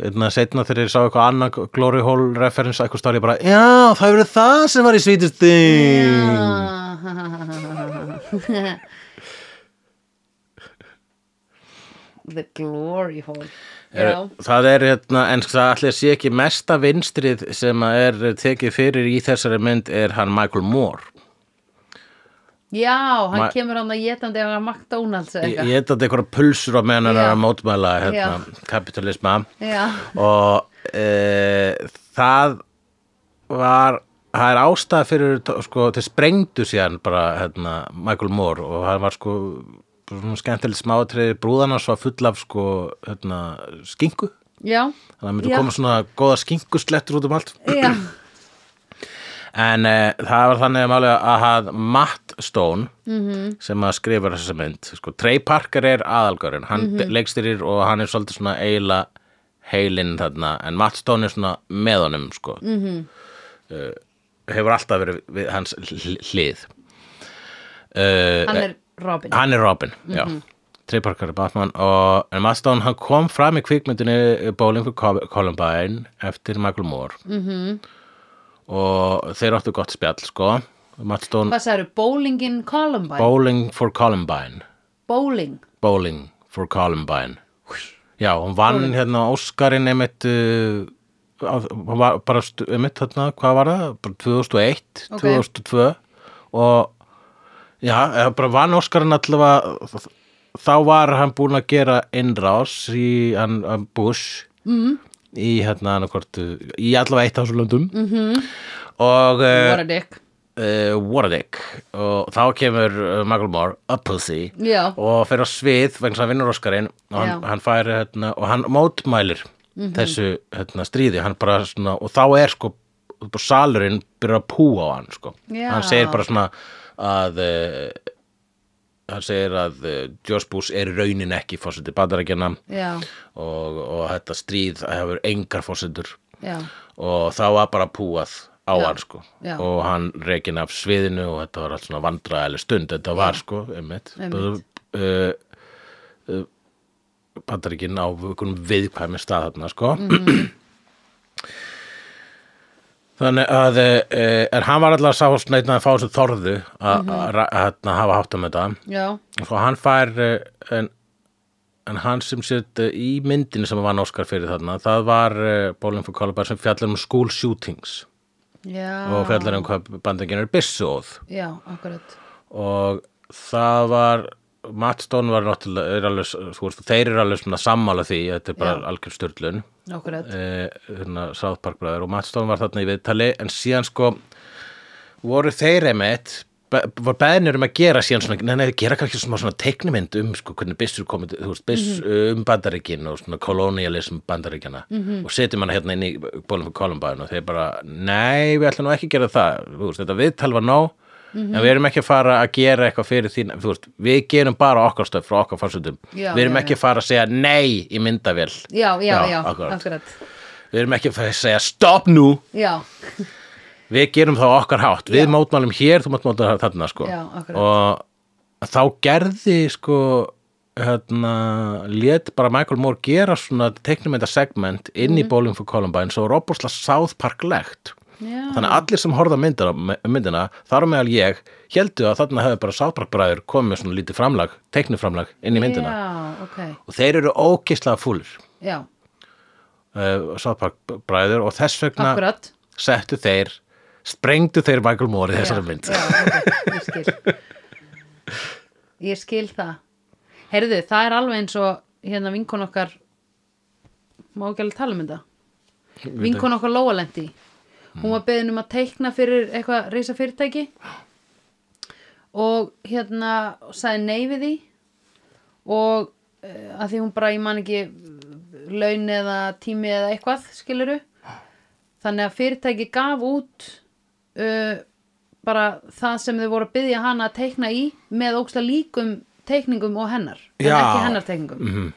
S2: einna setna þegar ég sá eitthvað annað glory hole reference eitthvað stóri ég bara, já, það verið það sem var í sweetest thing
S1: já. The glory hole
S2: Er,
S1: Já,
S2: það er hérna, en það allir sé ekki mesta vinstrið sem að er tekið fyrir í þessari mynd er hann Michael Moore
S1: já hann
S2: Ma-
S1: kemur hann að getandi á McDonalds eða
S2: ég
S1: eitthvað
S2: ég hef þetta eitthvað pulsur á meðan hann er
S1: Já.
S2: að mótmæla hérna, kapitalisma
S1: Já,
S2: og e, það var það er ástæða fyrir sko, þeir sprengdu síðan bara hérna, Michael Moore og hann var sko svona skemmtilegt smáatriði brúðan hans var full af sko hérna, skinku
S1: já,
S2: þannig að myndu
S1: Já.
S2: koma svona góða skinkuslettur út um allt
S1: já
S2: En uh, það var þannig að málega að hafð Matt Stone sem að skrifa þessa mynd sko, Trey Parker er aðalgörinn hann mm leikstýrir og hann er svolítið svona eiginlega heilinn þarna en Matt Stone er svona með honum sko. mm hefur alltaf verið við hans hl- hlið uh,
S1: Hann er Robin
S2: hann er Robin, já Trey Parker er Batman og en Matt Stone hann kom fram í kvikmyndinni eh, Bowling for Col- Columbine eftir Michael Moore -hmm. og þeir áttu gott spjall sko Matt Stone,
S1: Hvað sagði, bowling in Columbine?
S2: Bowling for Columbine
S1: bowling
S2: Bowling for Columbine já, hún vann hérna Óskarinn einmitt uh, á- hún var bara stu- einmitt hérna, hvað var það? Bara 2001,
S1: Ok.
S2: 2002 og já, eða bara vann Óskarinn allavega þá var hann búinn að gera innrás í hann, hann Bush mm. í hérna annarkvort uh, í allavega eitt af þessu löndum mm -hmm. og uh,
S1: What a dick
S2: uh, what a dick og þá kemur uh, Michael Moore a pussy
S1: Já.
S2: og fer á svið vegna sem hann vinnur Óskarinn og hann,
S1: Já. Mhm.
S2: hann fær hérna, og hann mótmælir þessu hérna, stríði hann bara, svona, og þá er sko bara salurinn byrjar að púa á hann sko.
S1: Já.
S2: hann segir bara svona að uh, hann segir að uh, George Bush er í raunin ekki fórseti bandarækjana
S1: Já,
S2: og, og þetta stríð hefur engar fórsetur
S1: já,
S2: og þá var bara púað á hann sko
S1: já.
S2: og hann reikin af sviðinu og þetta var allt svona vandræðileg stund þetta var sko, einmitt,
S1: Einmitt.
S2: Uh, uh, Bandaríkin á einhvern viðkvæmi stað þarna sko
S1: Mhm.
S2: þannig að uh, en hann var alltaf sá sneitna að fá þessu þorðu að
S1: Mhm.
S2: mm hafa hátt um þetta
S1: já,
S2: og hann fær eh, en, en hann sem sett eh, í myndinu sem vann Óskar fyrir þarna það var eh, Bowling for Columbine sem fjallar um school shootings
S1: já
S2: og fjallar um hvað bandingin er byssuð
S1: Já, akkurat
S2: og það var Matt Stone var náttúrulega er alveg, þú veist, þeir eru alveg svona sammála því þetta er bara
S1: Já.
S2: algjör styrlun
S1: Akkurat,
S2: hérna, South Park bræður og Matt Stone var þarna í viðtali en síðan sko voru þeir einmitt be- voru beðnir um að gera síðan svona, nei, nei, gera kannski smá svona teiknumynd um sko, hvernig byssur komið, þú veist, byss
S1: Mhm.
S2: um bandaríkin og svona kolonialism bandaríkjana og setjum hana hérna inn í bólum fyrir Columbine og þeir bara, nei, við ætlum nú ekki að gera það, þú veist, þetta viðtal var nóg
S1: Mhm.
S2: en við erum ekki að fara að gera eitthvað fyrir þín, þú veist, við gerum bara okkar stöf frá okkar farsundum,
S1: Já,
S2: við erum
S1: já,
S2: ekki að fara að segja nei í myndavél
S1: já, já,
S2: Já,
S1: já,
S2: akkurat.
S1: akkurat
S2: Við erum ekki að fara að segja stopp nú,
S1: Já,
S2: við gerum þá okkar hátt, við mótmælum hér, þú mátt mótmælum þarna sko.
S1: Já, akkurat.
S2: og þá gerði sko, hérna, lét bara Michael Moore gera svona teiknumynda segment inn
S1: Mhm.
S2: í Bowling for Columbine svo robustlega South Park-legt.
S1: já,
S2: Þannig að allir sem horfða myndina, myndina þar á meðal ég, heldur að þarna hefði bara South Park-bræður komið með svona lítið framlag, teiknuframlag inn í myndina.
S1: já, ok
S2: Og þeir eru ókislega fúlir,
S1: Já,
S2: uh, South Park-bræður og þess vegna
S1: akkurat
S2: settu þeir sprengdu þeir Michael Moore í þessari
S1: já,
S2: mynd
S1: já, ok, ég skil ég skil það heyrðu, það er alveg eins og hérna vinkon okkar má ekki alveg tala um þetta vinkon okkar Lóalendi hún var beðin um að teikna fyrir eitthvað reysa fyrirtæki og hérna sagði nei við því og uh, að því hún bara, ég man ekki laun eða tími eða eitthvað, skiluru þannig að fyrirtæki gaf út uh, bara það sem þau voru að byggja hana að teikna í með óksla líkum teikningum og hennar en
S2: Já.
S1: ekki hennar teikningum -hmm.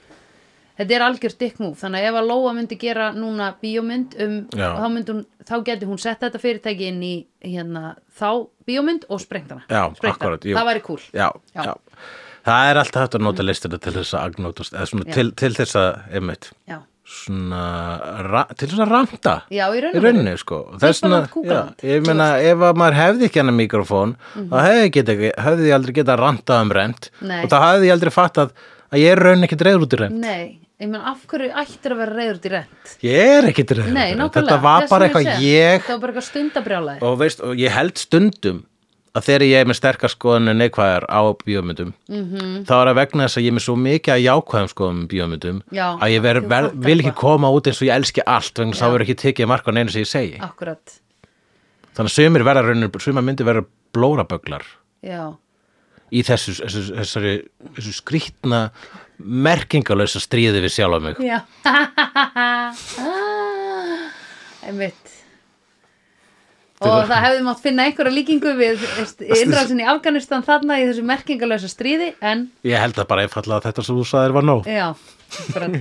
S1: þetta er algjör dikkmúf þannig að ef að Lóa myndi gera núna bíómynd um,
S2: Já.
S1: þá, myndi hún, þá geti hún sett þetta fyrirtæki inn í hérna, þá bíómynd og sprengt hana
S2: Já,
S1: Sprengt hana.
S2: akkúrat, jú.
S1: það væri kúl
S2: já,
S1: Já.
S2: já. það er alltaf hægt að nota listina til þess að agnótast eða svona til, til þess að, einmitt
S1: já.
S2: svona, ra, til þess að ranta
S1: Já, í raun og
S2: í rauninni sko þess
S1: bara
S2: vegna,
S1: að kúka
S2: já,
S1: land,
S2: ég meina ef að maður hefði ekki hennar mikrofón þá hefði, geta, hefði ég aldrei getað rantað um rent
S1: Mhm. Nei.
S2: og þá hefði ég aldrei fattað að ég er raunin ekki dregur út í rent
S1: nei, ég menn af hverju ættir að vera reyður til rent
S2: ég er ekki dregur út í
S1: nei,
S2: rent
S1: nákvæmlega
S2: þetta var
S1: þess
S2: bara
S1: vegna
S2: eitthvað
S1: segi,
S2: ég
S1: þetta var bara eitthvað stundabrjálæði
S2: og veist, og ég held stundum að þegar ég er með sterkar skoðanir neikvæðar á bíómyndum -hmm.
S1: Mhm.
S2: þá er það vegna þess að ég er með svo mikið að jákvæðum skoðum bíómyndum
S1: Já,
S2: að ég ver,
S1: þú
S2: ver,
S1: fattar
S2: vil ekki
S1: hvað.
S2: koma út eins og ég elski allt vegna þess að þá verður ekki tekið mark á neina sem ég segi
S1: Ah. Akkurat,
S2: þannig að sumir verða raunir, sumar myndir verða blóraböglar
S1: já,
S2: í þessu, þessu, þessari, þessu skrýtna merkingalösa stríði við sjálf á mig
S1: já. Einmitt. Og það hefði mátt finna einhverja líkingu við innrásin í Afganistan þarna í þessu merkingalösa stríði, en
S2: ég held að bara einfallega að þetta sem þú sagðir var nóg
S1: já, akkurat.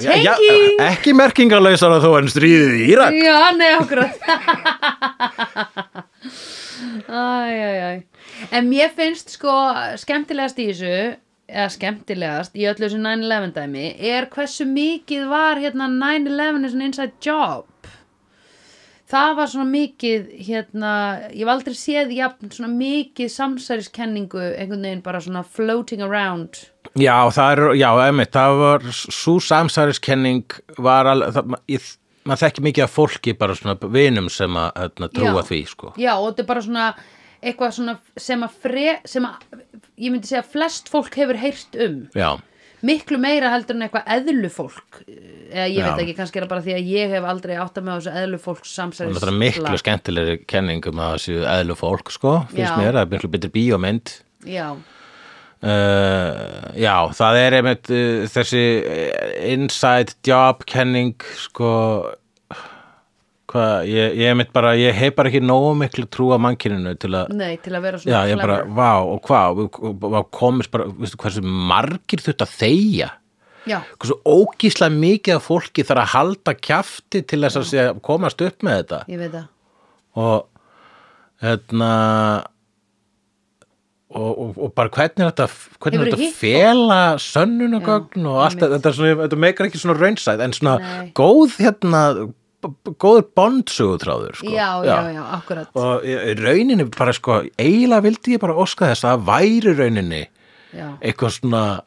S2: Já, já,
S1: Tenging!
S2: ekki merkingalösa þó en stríðið í Írak
S1: Já, nei, akkurat. Æj, æj, æj. En mér finnst sko skemmtilegast í þessu, eða skemmtilegast í öllu þessu 9-11 dæmi, er hversu mikið var hérna 9-11 is an inside job. Það var svona mikið, hérna, ég hef aldrei séð jafn svona mikið samsæriskenningu, einhvern veginn bara svona floating around.
S2: Já, það er, já, einmitt, það var svo samsæriskenning var alveg, það, ma- ég, maður þekki mikið af fólki bara svona vinum sem að hérna, trúa
S1: Já.
S2: því, sko.
S1: Já, og þetta er bara svona eitthvað svona sem að, fre, sem að ég myndi segja að flest fólk hefur heyrt um
S2: Já,
S1: miklu meira heldur en eitthvað eðlufólk eða ég
S2: Já.
S1: veit ekki, kannski er það bara því að ég hef aldrei átt að með þessu eðlufólk
S2: og
S1: samsæðis
S2: það er miklu skemmtilegri kenning um að það séu eðlu fólk, sko, finnst
S1: Já.
S2: mér, það er miklu betri bíómynd.
S1: Já,
S2: Uh, já, það er einmitt uh, þessi eh, inside job kenning, sko, hvað, ég, ég einmitt bara, ég hef bara ekki nógu miklu trú á mannkyninu til að
S1: nei, til að vera svona
S2: Já, ég bara,
S1: clever.
S2: vá, og hvað, og- og- og- og komist bara, veistu hversu margir þurft að þegja,
S1: Já,
S2: hversu ógíslega mikið af fólki þarf að halda kjafti til þess að sé, komast upp með þetta
S1: ég veit það
S2: og hérna og, og, og bara hvernig er þetta hvernig er
S1: Hefurðu
S2: þetta
S1: hitt
S2: að fela sönnunagögn og allt þetta, þetta, er svona, þetta meikar ekki svona raunsæð en svona
S1: Nei.
S2: góð hérna b- b- góður bondsugutráður sko.
S1: Já, já, já, akkurat
S2: og í- í rauninni bara sko eiginlega vildi ég bara óska þess að það væri rauninni
S1: Já,
S2: eitthvað svona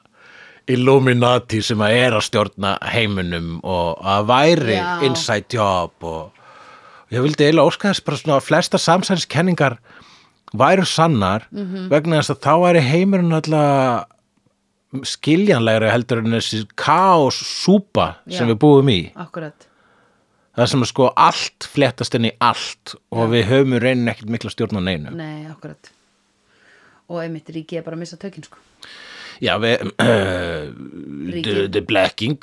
S2: Illuminati sem að er að stjórna heiminum og að væri
S1: Já.
S2: inside job og og ég vildi eiginlega óska þess bara svona að flesta samsæðiskenningar væru sannar
S1: Mhm.
S2: vegna þess að þá væri heimurinn alltaf skiljanlegri heldur en þessi kaos súpa sem
S1: Já.
S2: við búum í
S1: akkurat
S2: það sem er sko allt fléttast inn í allt og við höfum í rauninni ekkert mikla stjórn á neinu
S1: Nei, akkurat Og einmitt ríki er bara að missa tökin sko
S2: já við
S1: Ríki.
S2: the blacking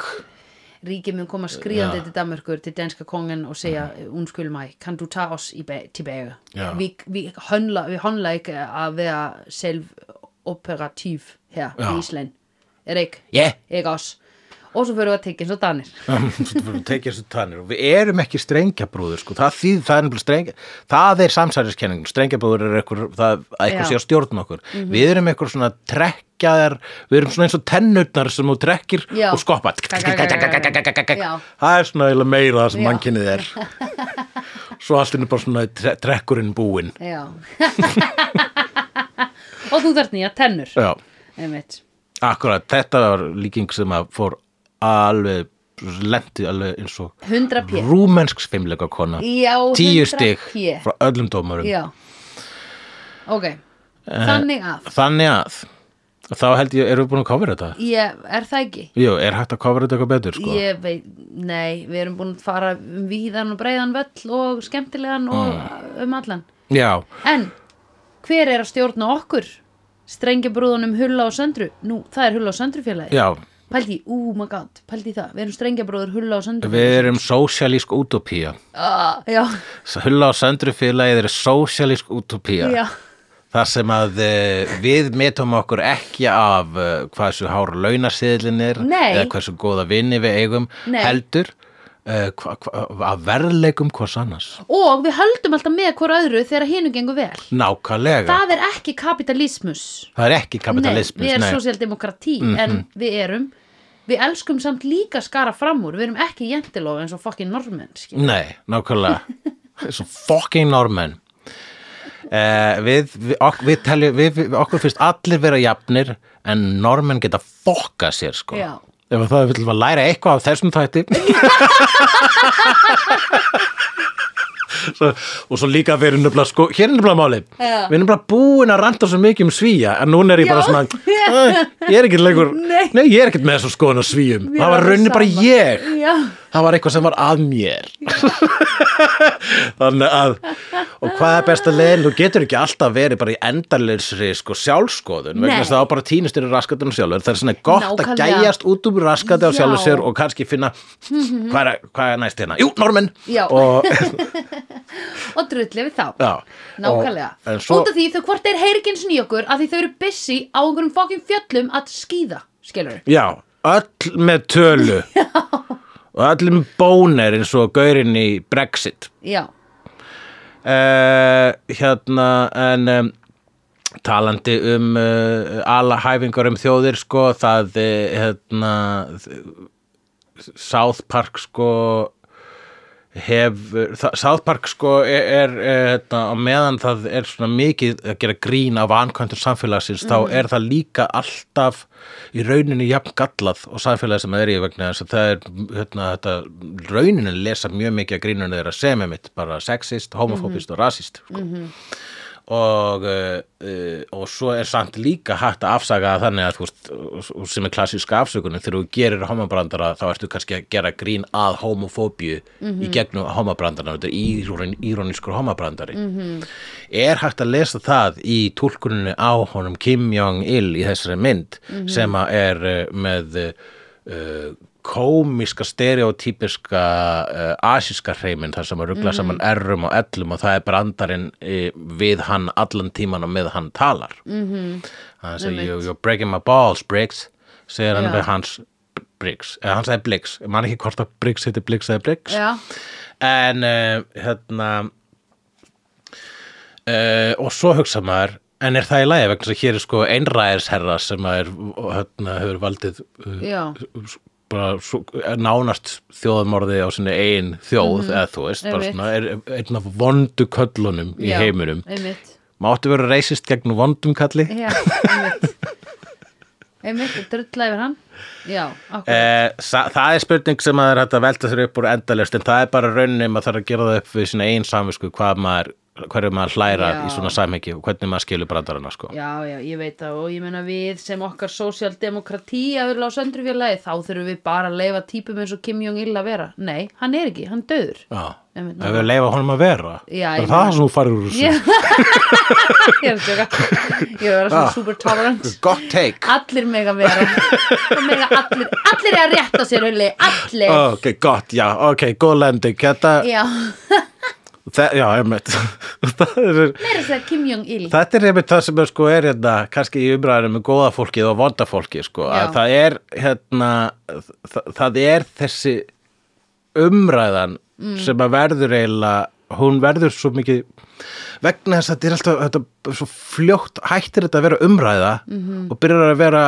S1: Ríkið mun koma skriðandi til Danmörkur til danska kongen og segja hún skul mig, kan du ta oss í be- tilbage?
S2: Mm. Já.
S1: Vi, vi, handler, vi handler ikke at være selv operativ her
S2: Ja.
S1: i Island. Er det ikke?
S2: yeah
S1: Ikke også? Og så fyrir við að tekja eins og danir.
S2: Svo fyrir að tekja þessu tannir og við erum ekki strengjabrúður sko. það, þýð, það, er nefnilega strengja, það er samsæriskenningin strengjabrúður er eitthvað, það, að eitthvað
S1: Já. Mhm.
S2: sé að stjórna okkur við erum eitthvað svona trekkjaðar við erum svona eins og tennutnar sem þú trekkir
S1: Já.
S2: og skoppa
S1: Já.
S2: það er svona eiginlega meira það sem
S1: Já.
S2: mannkynnið er svo allt er bara svona tre trekkurinn búinn
S1: Já. og þú þarft nýja tennur.
S2: Já,
S1: Einmitt.
S2: akkurat, þetta var líking sem að fór alveg lendi alveg eins og
S1: 100 p.
S2: rúmensk fimmleika kona
S1: Já, 100
S2: tíu stig
S1: p.
S2: frá öllum dómurum
S1: Já.
S2: Eh.
S1: Ok. Þannig að,
S2: þannig að þá held ég, erum við búin að kofra þetta?
S1: ég, er það ekki?
S2: Jú, er hægt að kofra þetta eitthvað betur sko?
S1: Ég veit, nei, við erum búin að fara um víðan og breiðan völl og skemmtilegan
S2: Mm.
S1: og um allan.
S2: Já,
S1: En, hver er að stjórna okkur? Strengjabrúðunum Hulla og Söndru? Nú, það er Hulla og Söndru félagi.
S2: já,
S1: pældi í, oh my god, pældi í það við erum strengjabróður Hulla og Söndur
S2: Við erum sósialísk útopía
S1: ah, já,
S2: Hulla og söndru félagið er sósialísk útopía
S1: já,
S2: Þar sem að uh, við metum okkur ekki af uh, hversu hár launaseðlin er
S1: Nei.
S2: eða hversu góða vinni við eigum
S1: Nei.
S2: heldur uh, hva, hva, að verðleikum hvers annars.
S1: og við höldum alltaf með hvora öðru þegar hinu gengur vel
S2: Nákvæmlega.
S1: það er ekki kapitalismus
S2: Það er ekki
S1: nei,
S2: kapitalismus.
S1: við erum
S2: nei. Mhm.
S1: sosialdemokratí en við erum við elskum samt líka skara fram úr við erum ekki jentilof eins og fucking normenn skilur.
S2: Nei, nákvæmlega. Svo fucking normenn. Uh, við, við, ok, við, teljum, við, við okkur finnst allir vera jafnir en normenn geta fokka sér sko.
S1: Já.
S2: Ef það við viljum að læra eitthvað af þessum þætti. svo, og svo líka við erum nefnilega sko, hér er nefnilega málið.
S1: Já.
S2: Við erum nefnilega búin að ranta svo mikið um svíja en núna er ég bara
S1: Já.
S2: svona, "Æ, ég er ekkert lengur,
S1: Nei.
S2: ég er ekkert með þessum skoðun að svíjum.
S1: Mér
S2: Mm, Það var
S1: alveg
S2: raunni bara
S1: sama.
S2: ég
S1: Já.
S2: það var eitthvað sem var að mér þannig að og hvað er besta leiðin, þú getur ekki alltaf verið bara í endarleisri sko sjálfskoðun
S1: Nei.
S2: vegna þess að þá bara týnist þér í raskatunum sjálfur það er svona gott að
S1: Nákvæmlega.
S2: gæjast út úr raskati á
S1: Já.
S2: sjálfur sér og kannski finna hvað er, hvað er næst hérna, jú, normin
S1: Já.
S2: og
S1: og drulli við þá
S2: Já.
S1: nákvæmlega,
S2: Og- en svo-
S1: út af því þau hvort þeir heyri ekki eins og okkur að því þau eru busy á einhverjum fokkin fjöllum að skýða skilur
S2: Já, öll með tölu og öll með bóner eins og gaurinn í Brexit
S1: já,
S2: uh, hérna en um, talandi um uh, alahæfingar um þjóðir sko það uh, hérna þ- South Park sko hefur, það, South Park sko er, er eh, hérna, á meðan það er svona mikið að gera grín af ankvæntur samfélagsins, þá er það líka alltaf í rauninni jafn gallað og samfélagið sem það er í vegna þess að það er, hérna, þetta rauninni lesa mjög mikið að grínunni þeirra sem er mitt, bara sexist, homofóbist og rasist sko. og uh, uh, og svo er samt líka hægt að afsaka það þannig að þú veist, og- og sem er klassíska afsökunin, þegar þú gerir homabrandara þá ertu kannski að gera grín að homofóbíu í gegnum homabrandarana þetta er írón- írónískur homabrandari er hægt að lesa það í túlkuninu á honum Kim Jong-il í þessari mynd sem að er uh, með uh, komiska, stereotypiska uh, asíska hreiminn þar sem að
S1: Mhm.
S2: ruggla saman errum og ellum og það er brandarinn uh, við hann allan tíman og með hann talar mm
S1: Mhm.
S2: -hmm. hann segir you, you're breaking my balls Briggs segir hann
S1: Já.
S2: við hans Briggs, eða hann segir Blix, man ekki hvort að Briggs heiti Blix eða Briggs
S1: já,
S2: en uh, hérna uh, og svo hugsa maður en er það í lagi vegna þess að hér er sko einræðisherra sem að er hérna, hefur valdið uh,
S1: já
S2: bara svo, eh, nánast þjóðamorði á sinni ein þjóð eða þú veist, bara
S1: Mhm. Einmitt.
S2: svona er, einn af vondu köllunum í
S1: já,
S2: heiminum
S1: einmitt,
S2: máttu vera reisist gegn vondum kalli
S1: já, einmitt einmitt, og drulla yfir hann já, akkur,
S2: Eh, sa- það er spurning sem maður er hægt að velta sér upp úr endalist en það er bara rauninni maður þarf að gera það upp við sína einn samvisku hvað maður, hverju maður hlærar
S1: Já.
S2: í svona samhengi og hvernig maður skilur brandarana sko.
S1: já, já, ég veit það og ég meina við sem okkar sósialdemokratí að við lása öndrufélagi þá þurfum við bara að leifa típum eins og Kim Jong-il að vera nei, hann er ekki, hann döður
S2: Já.
S1: Einmitt,
S2: Ef við leifa honum að vera
S1: Já,
S2: er
S1: ég
S2: það
S1: meina-
S2: sem þú farir úr þessu
S1: Já. ég er að sjöka ég er að vera
S2: Ah.
S1: svona super tolerant
S2: Gott take
S1: allir mega vera Það mega allir, allir er að rétta sér hulli allir,
S2: Ok, gott, já, ok, góð lending Hérna,
S1: já
S2: Þetta, það, já, einmitt Það er
S1: meira þess að Kim Jong-il
S2: Þetta er einmitt það sem er, sko, er hérna, kannski í umræðinu með góða fólkið og vonda fólkið sko,
S1: Já.
S2: að það er hérna, það, það er þessi umræðan sem að verður eiginlega hún verður svo mikið vegna þess að þetta er alltaf þetta, svo fljótt hættir þetta að vera umræða og byrjar að vera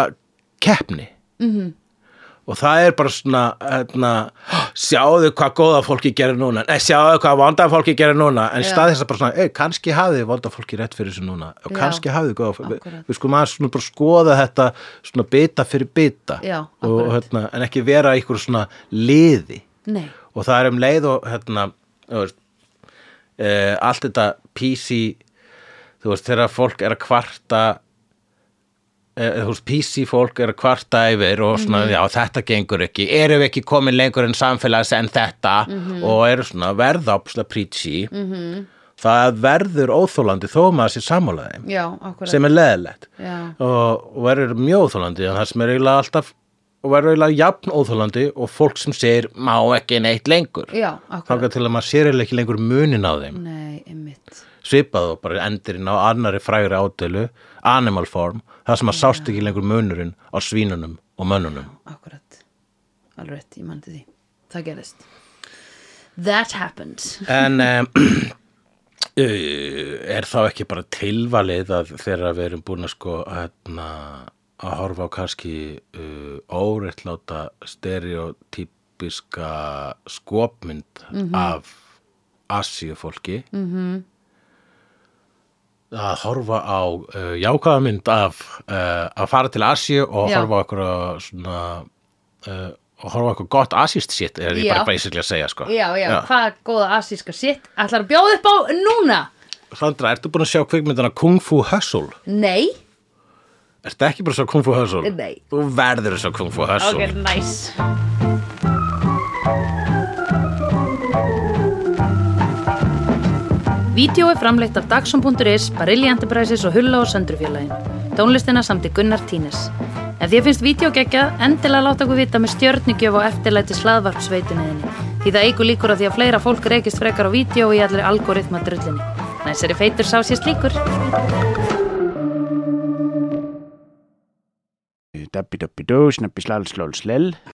S2: keppni og það er bara svona hérna, sjáðu hvað góða fólki gerir núna nei, sjáðu hvað vonda fólki gerir núna en í
S1: Já.
S2: stað þess að bara svona, ei, kannski hafið vonda fólki rétt fyrir þessu núna og
S1: Já,
S2: kannski hafið góða fólki við,
S1: akkurat.
S2: við skulum aðeins svona bara skoða þetta svona bita fyrir bita
S1: Já,
S2: og,
S1: akkurat.
S2: hérna, en ekki vera í ykkur svona liði
S1: nei,
S2: og það er um leið og hérna þú veist, uh, allt þetta PC þú veist, þegar fólk er að kvarta uh, þú veist, PC fólk er að kvarta yfir og svona,
S1: Mhm.
S2: já, þetta gengur ekki eru við ekki komin lengur en samfélags en þetta
S1: Mhm.
S2: og eru svona verða opsla preachy -hmm. það verður óþólandi þó maður sér sammálaði
S1: já, akkurat
S2: sem er leðilegt
S1: já,
S2: og, og verður mjög óþólandi en það sem er eiginlega alltaf og verður eiginlega jafn óþólandi og fólk sem segir má ekki neitt lengur
S1: já, akkurat Mm.
S2: þangað til að maður sér eiginlega ekki lengur munin á þeim
S1: nei, einmitt
S2: svipað og bara endurinn á annari frægri átölu animal form, það sem að sást ekki lengur munurinn á svínunum og mönnunum
S1: akkurat, alveg rétt, ég mandi því það gerist that happened
S2: en um, er þá ekki bara tilvalið að þegar við erum búin að sko hérna, að horfa á kannski uh, óréttláta stereotypiska skopmynd
S1: Mhm.
S2: af asíufólki -hmm. að horfa á uh, jákvæða mynd af uh, að fara til Asíu og
S1: Já.
S2: horfa á eitthvað svona uh, og horfa á eitthvað gott asíst sitt er ég
S1: Já.
S2: bara basically að segja sko
S1: já, já, hvaða góða asíska sitt ætlar að bjóða upp á núna
S2: Sandra, ertu búin að sjá kvikmyndina Kung Fu Hustle?
S1: nei,
S2: Ertu ekki bara að sjá Kung Fu Hustle?
S1: Nei.
S2: Þú verður að sjá Kung Fu Hustle.
S1: ok, nice Vídeó er framleitt af Dagsum.is, Barilli Enterprises og Hulla og Söndrufjörlægin. Tónlistina samt í Gunnar Tínes. Ef því finnst vídeo geggja, endilega láta okkur vita með stjörnigjöf og eftirlæti slaðvarpsveitunniðinni. Því það eigur líkur að því að fleira fólk reykist frekar á vídeo í allir algoritma drullinni. Næsari feitur sá sést líkur.
S3: Dabbi dabbi dó, snabbi slal slól slell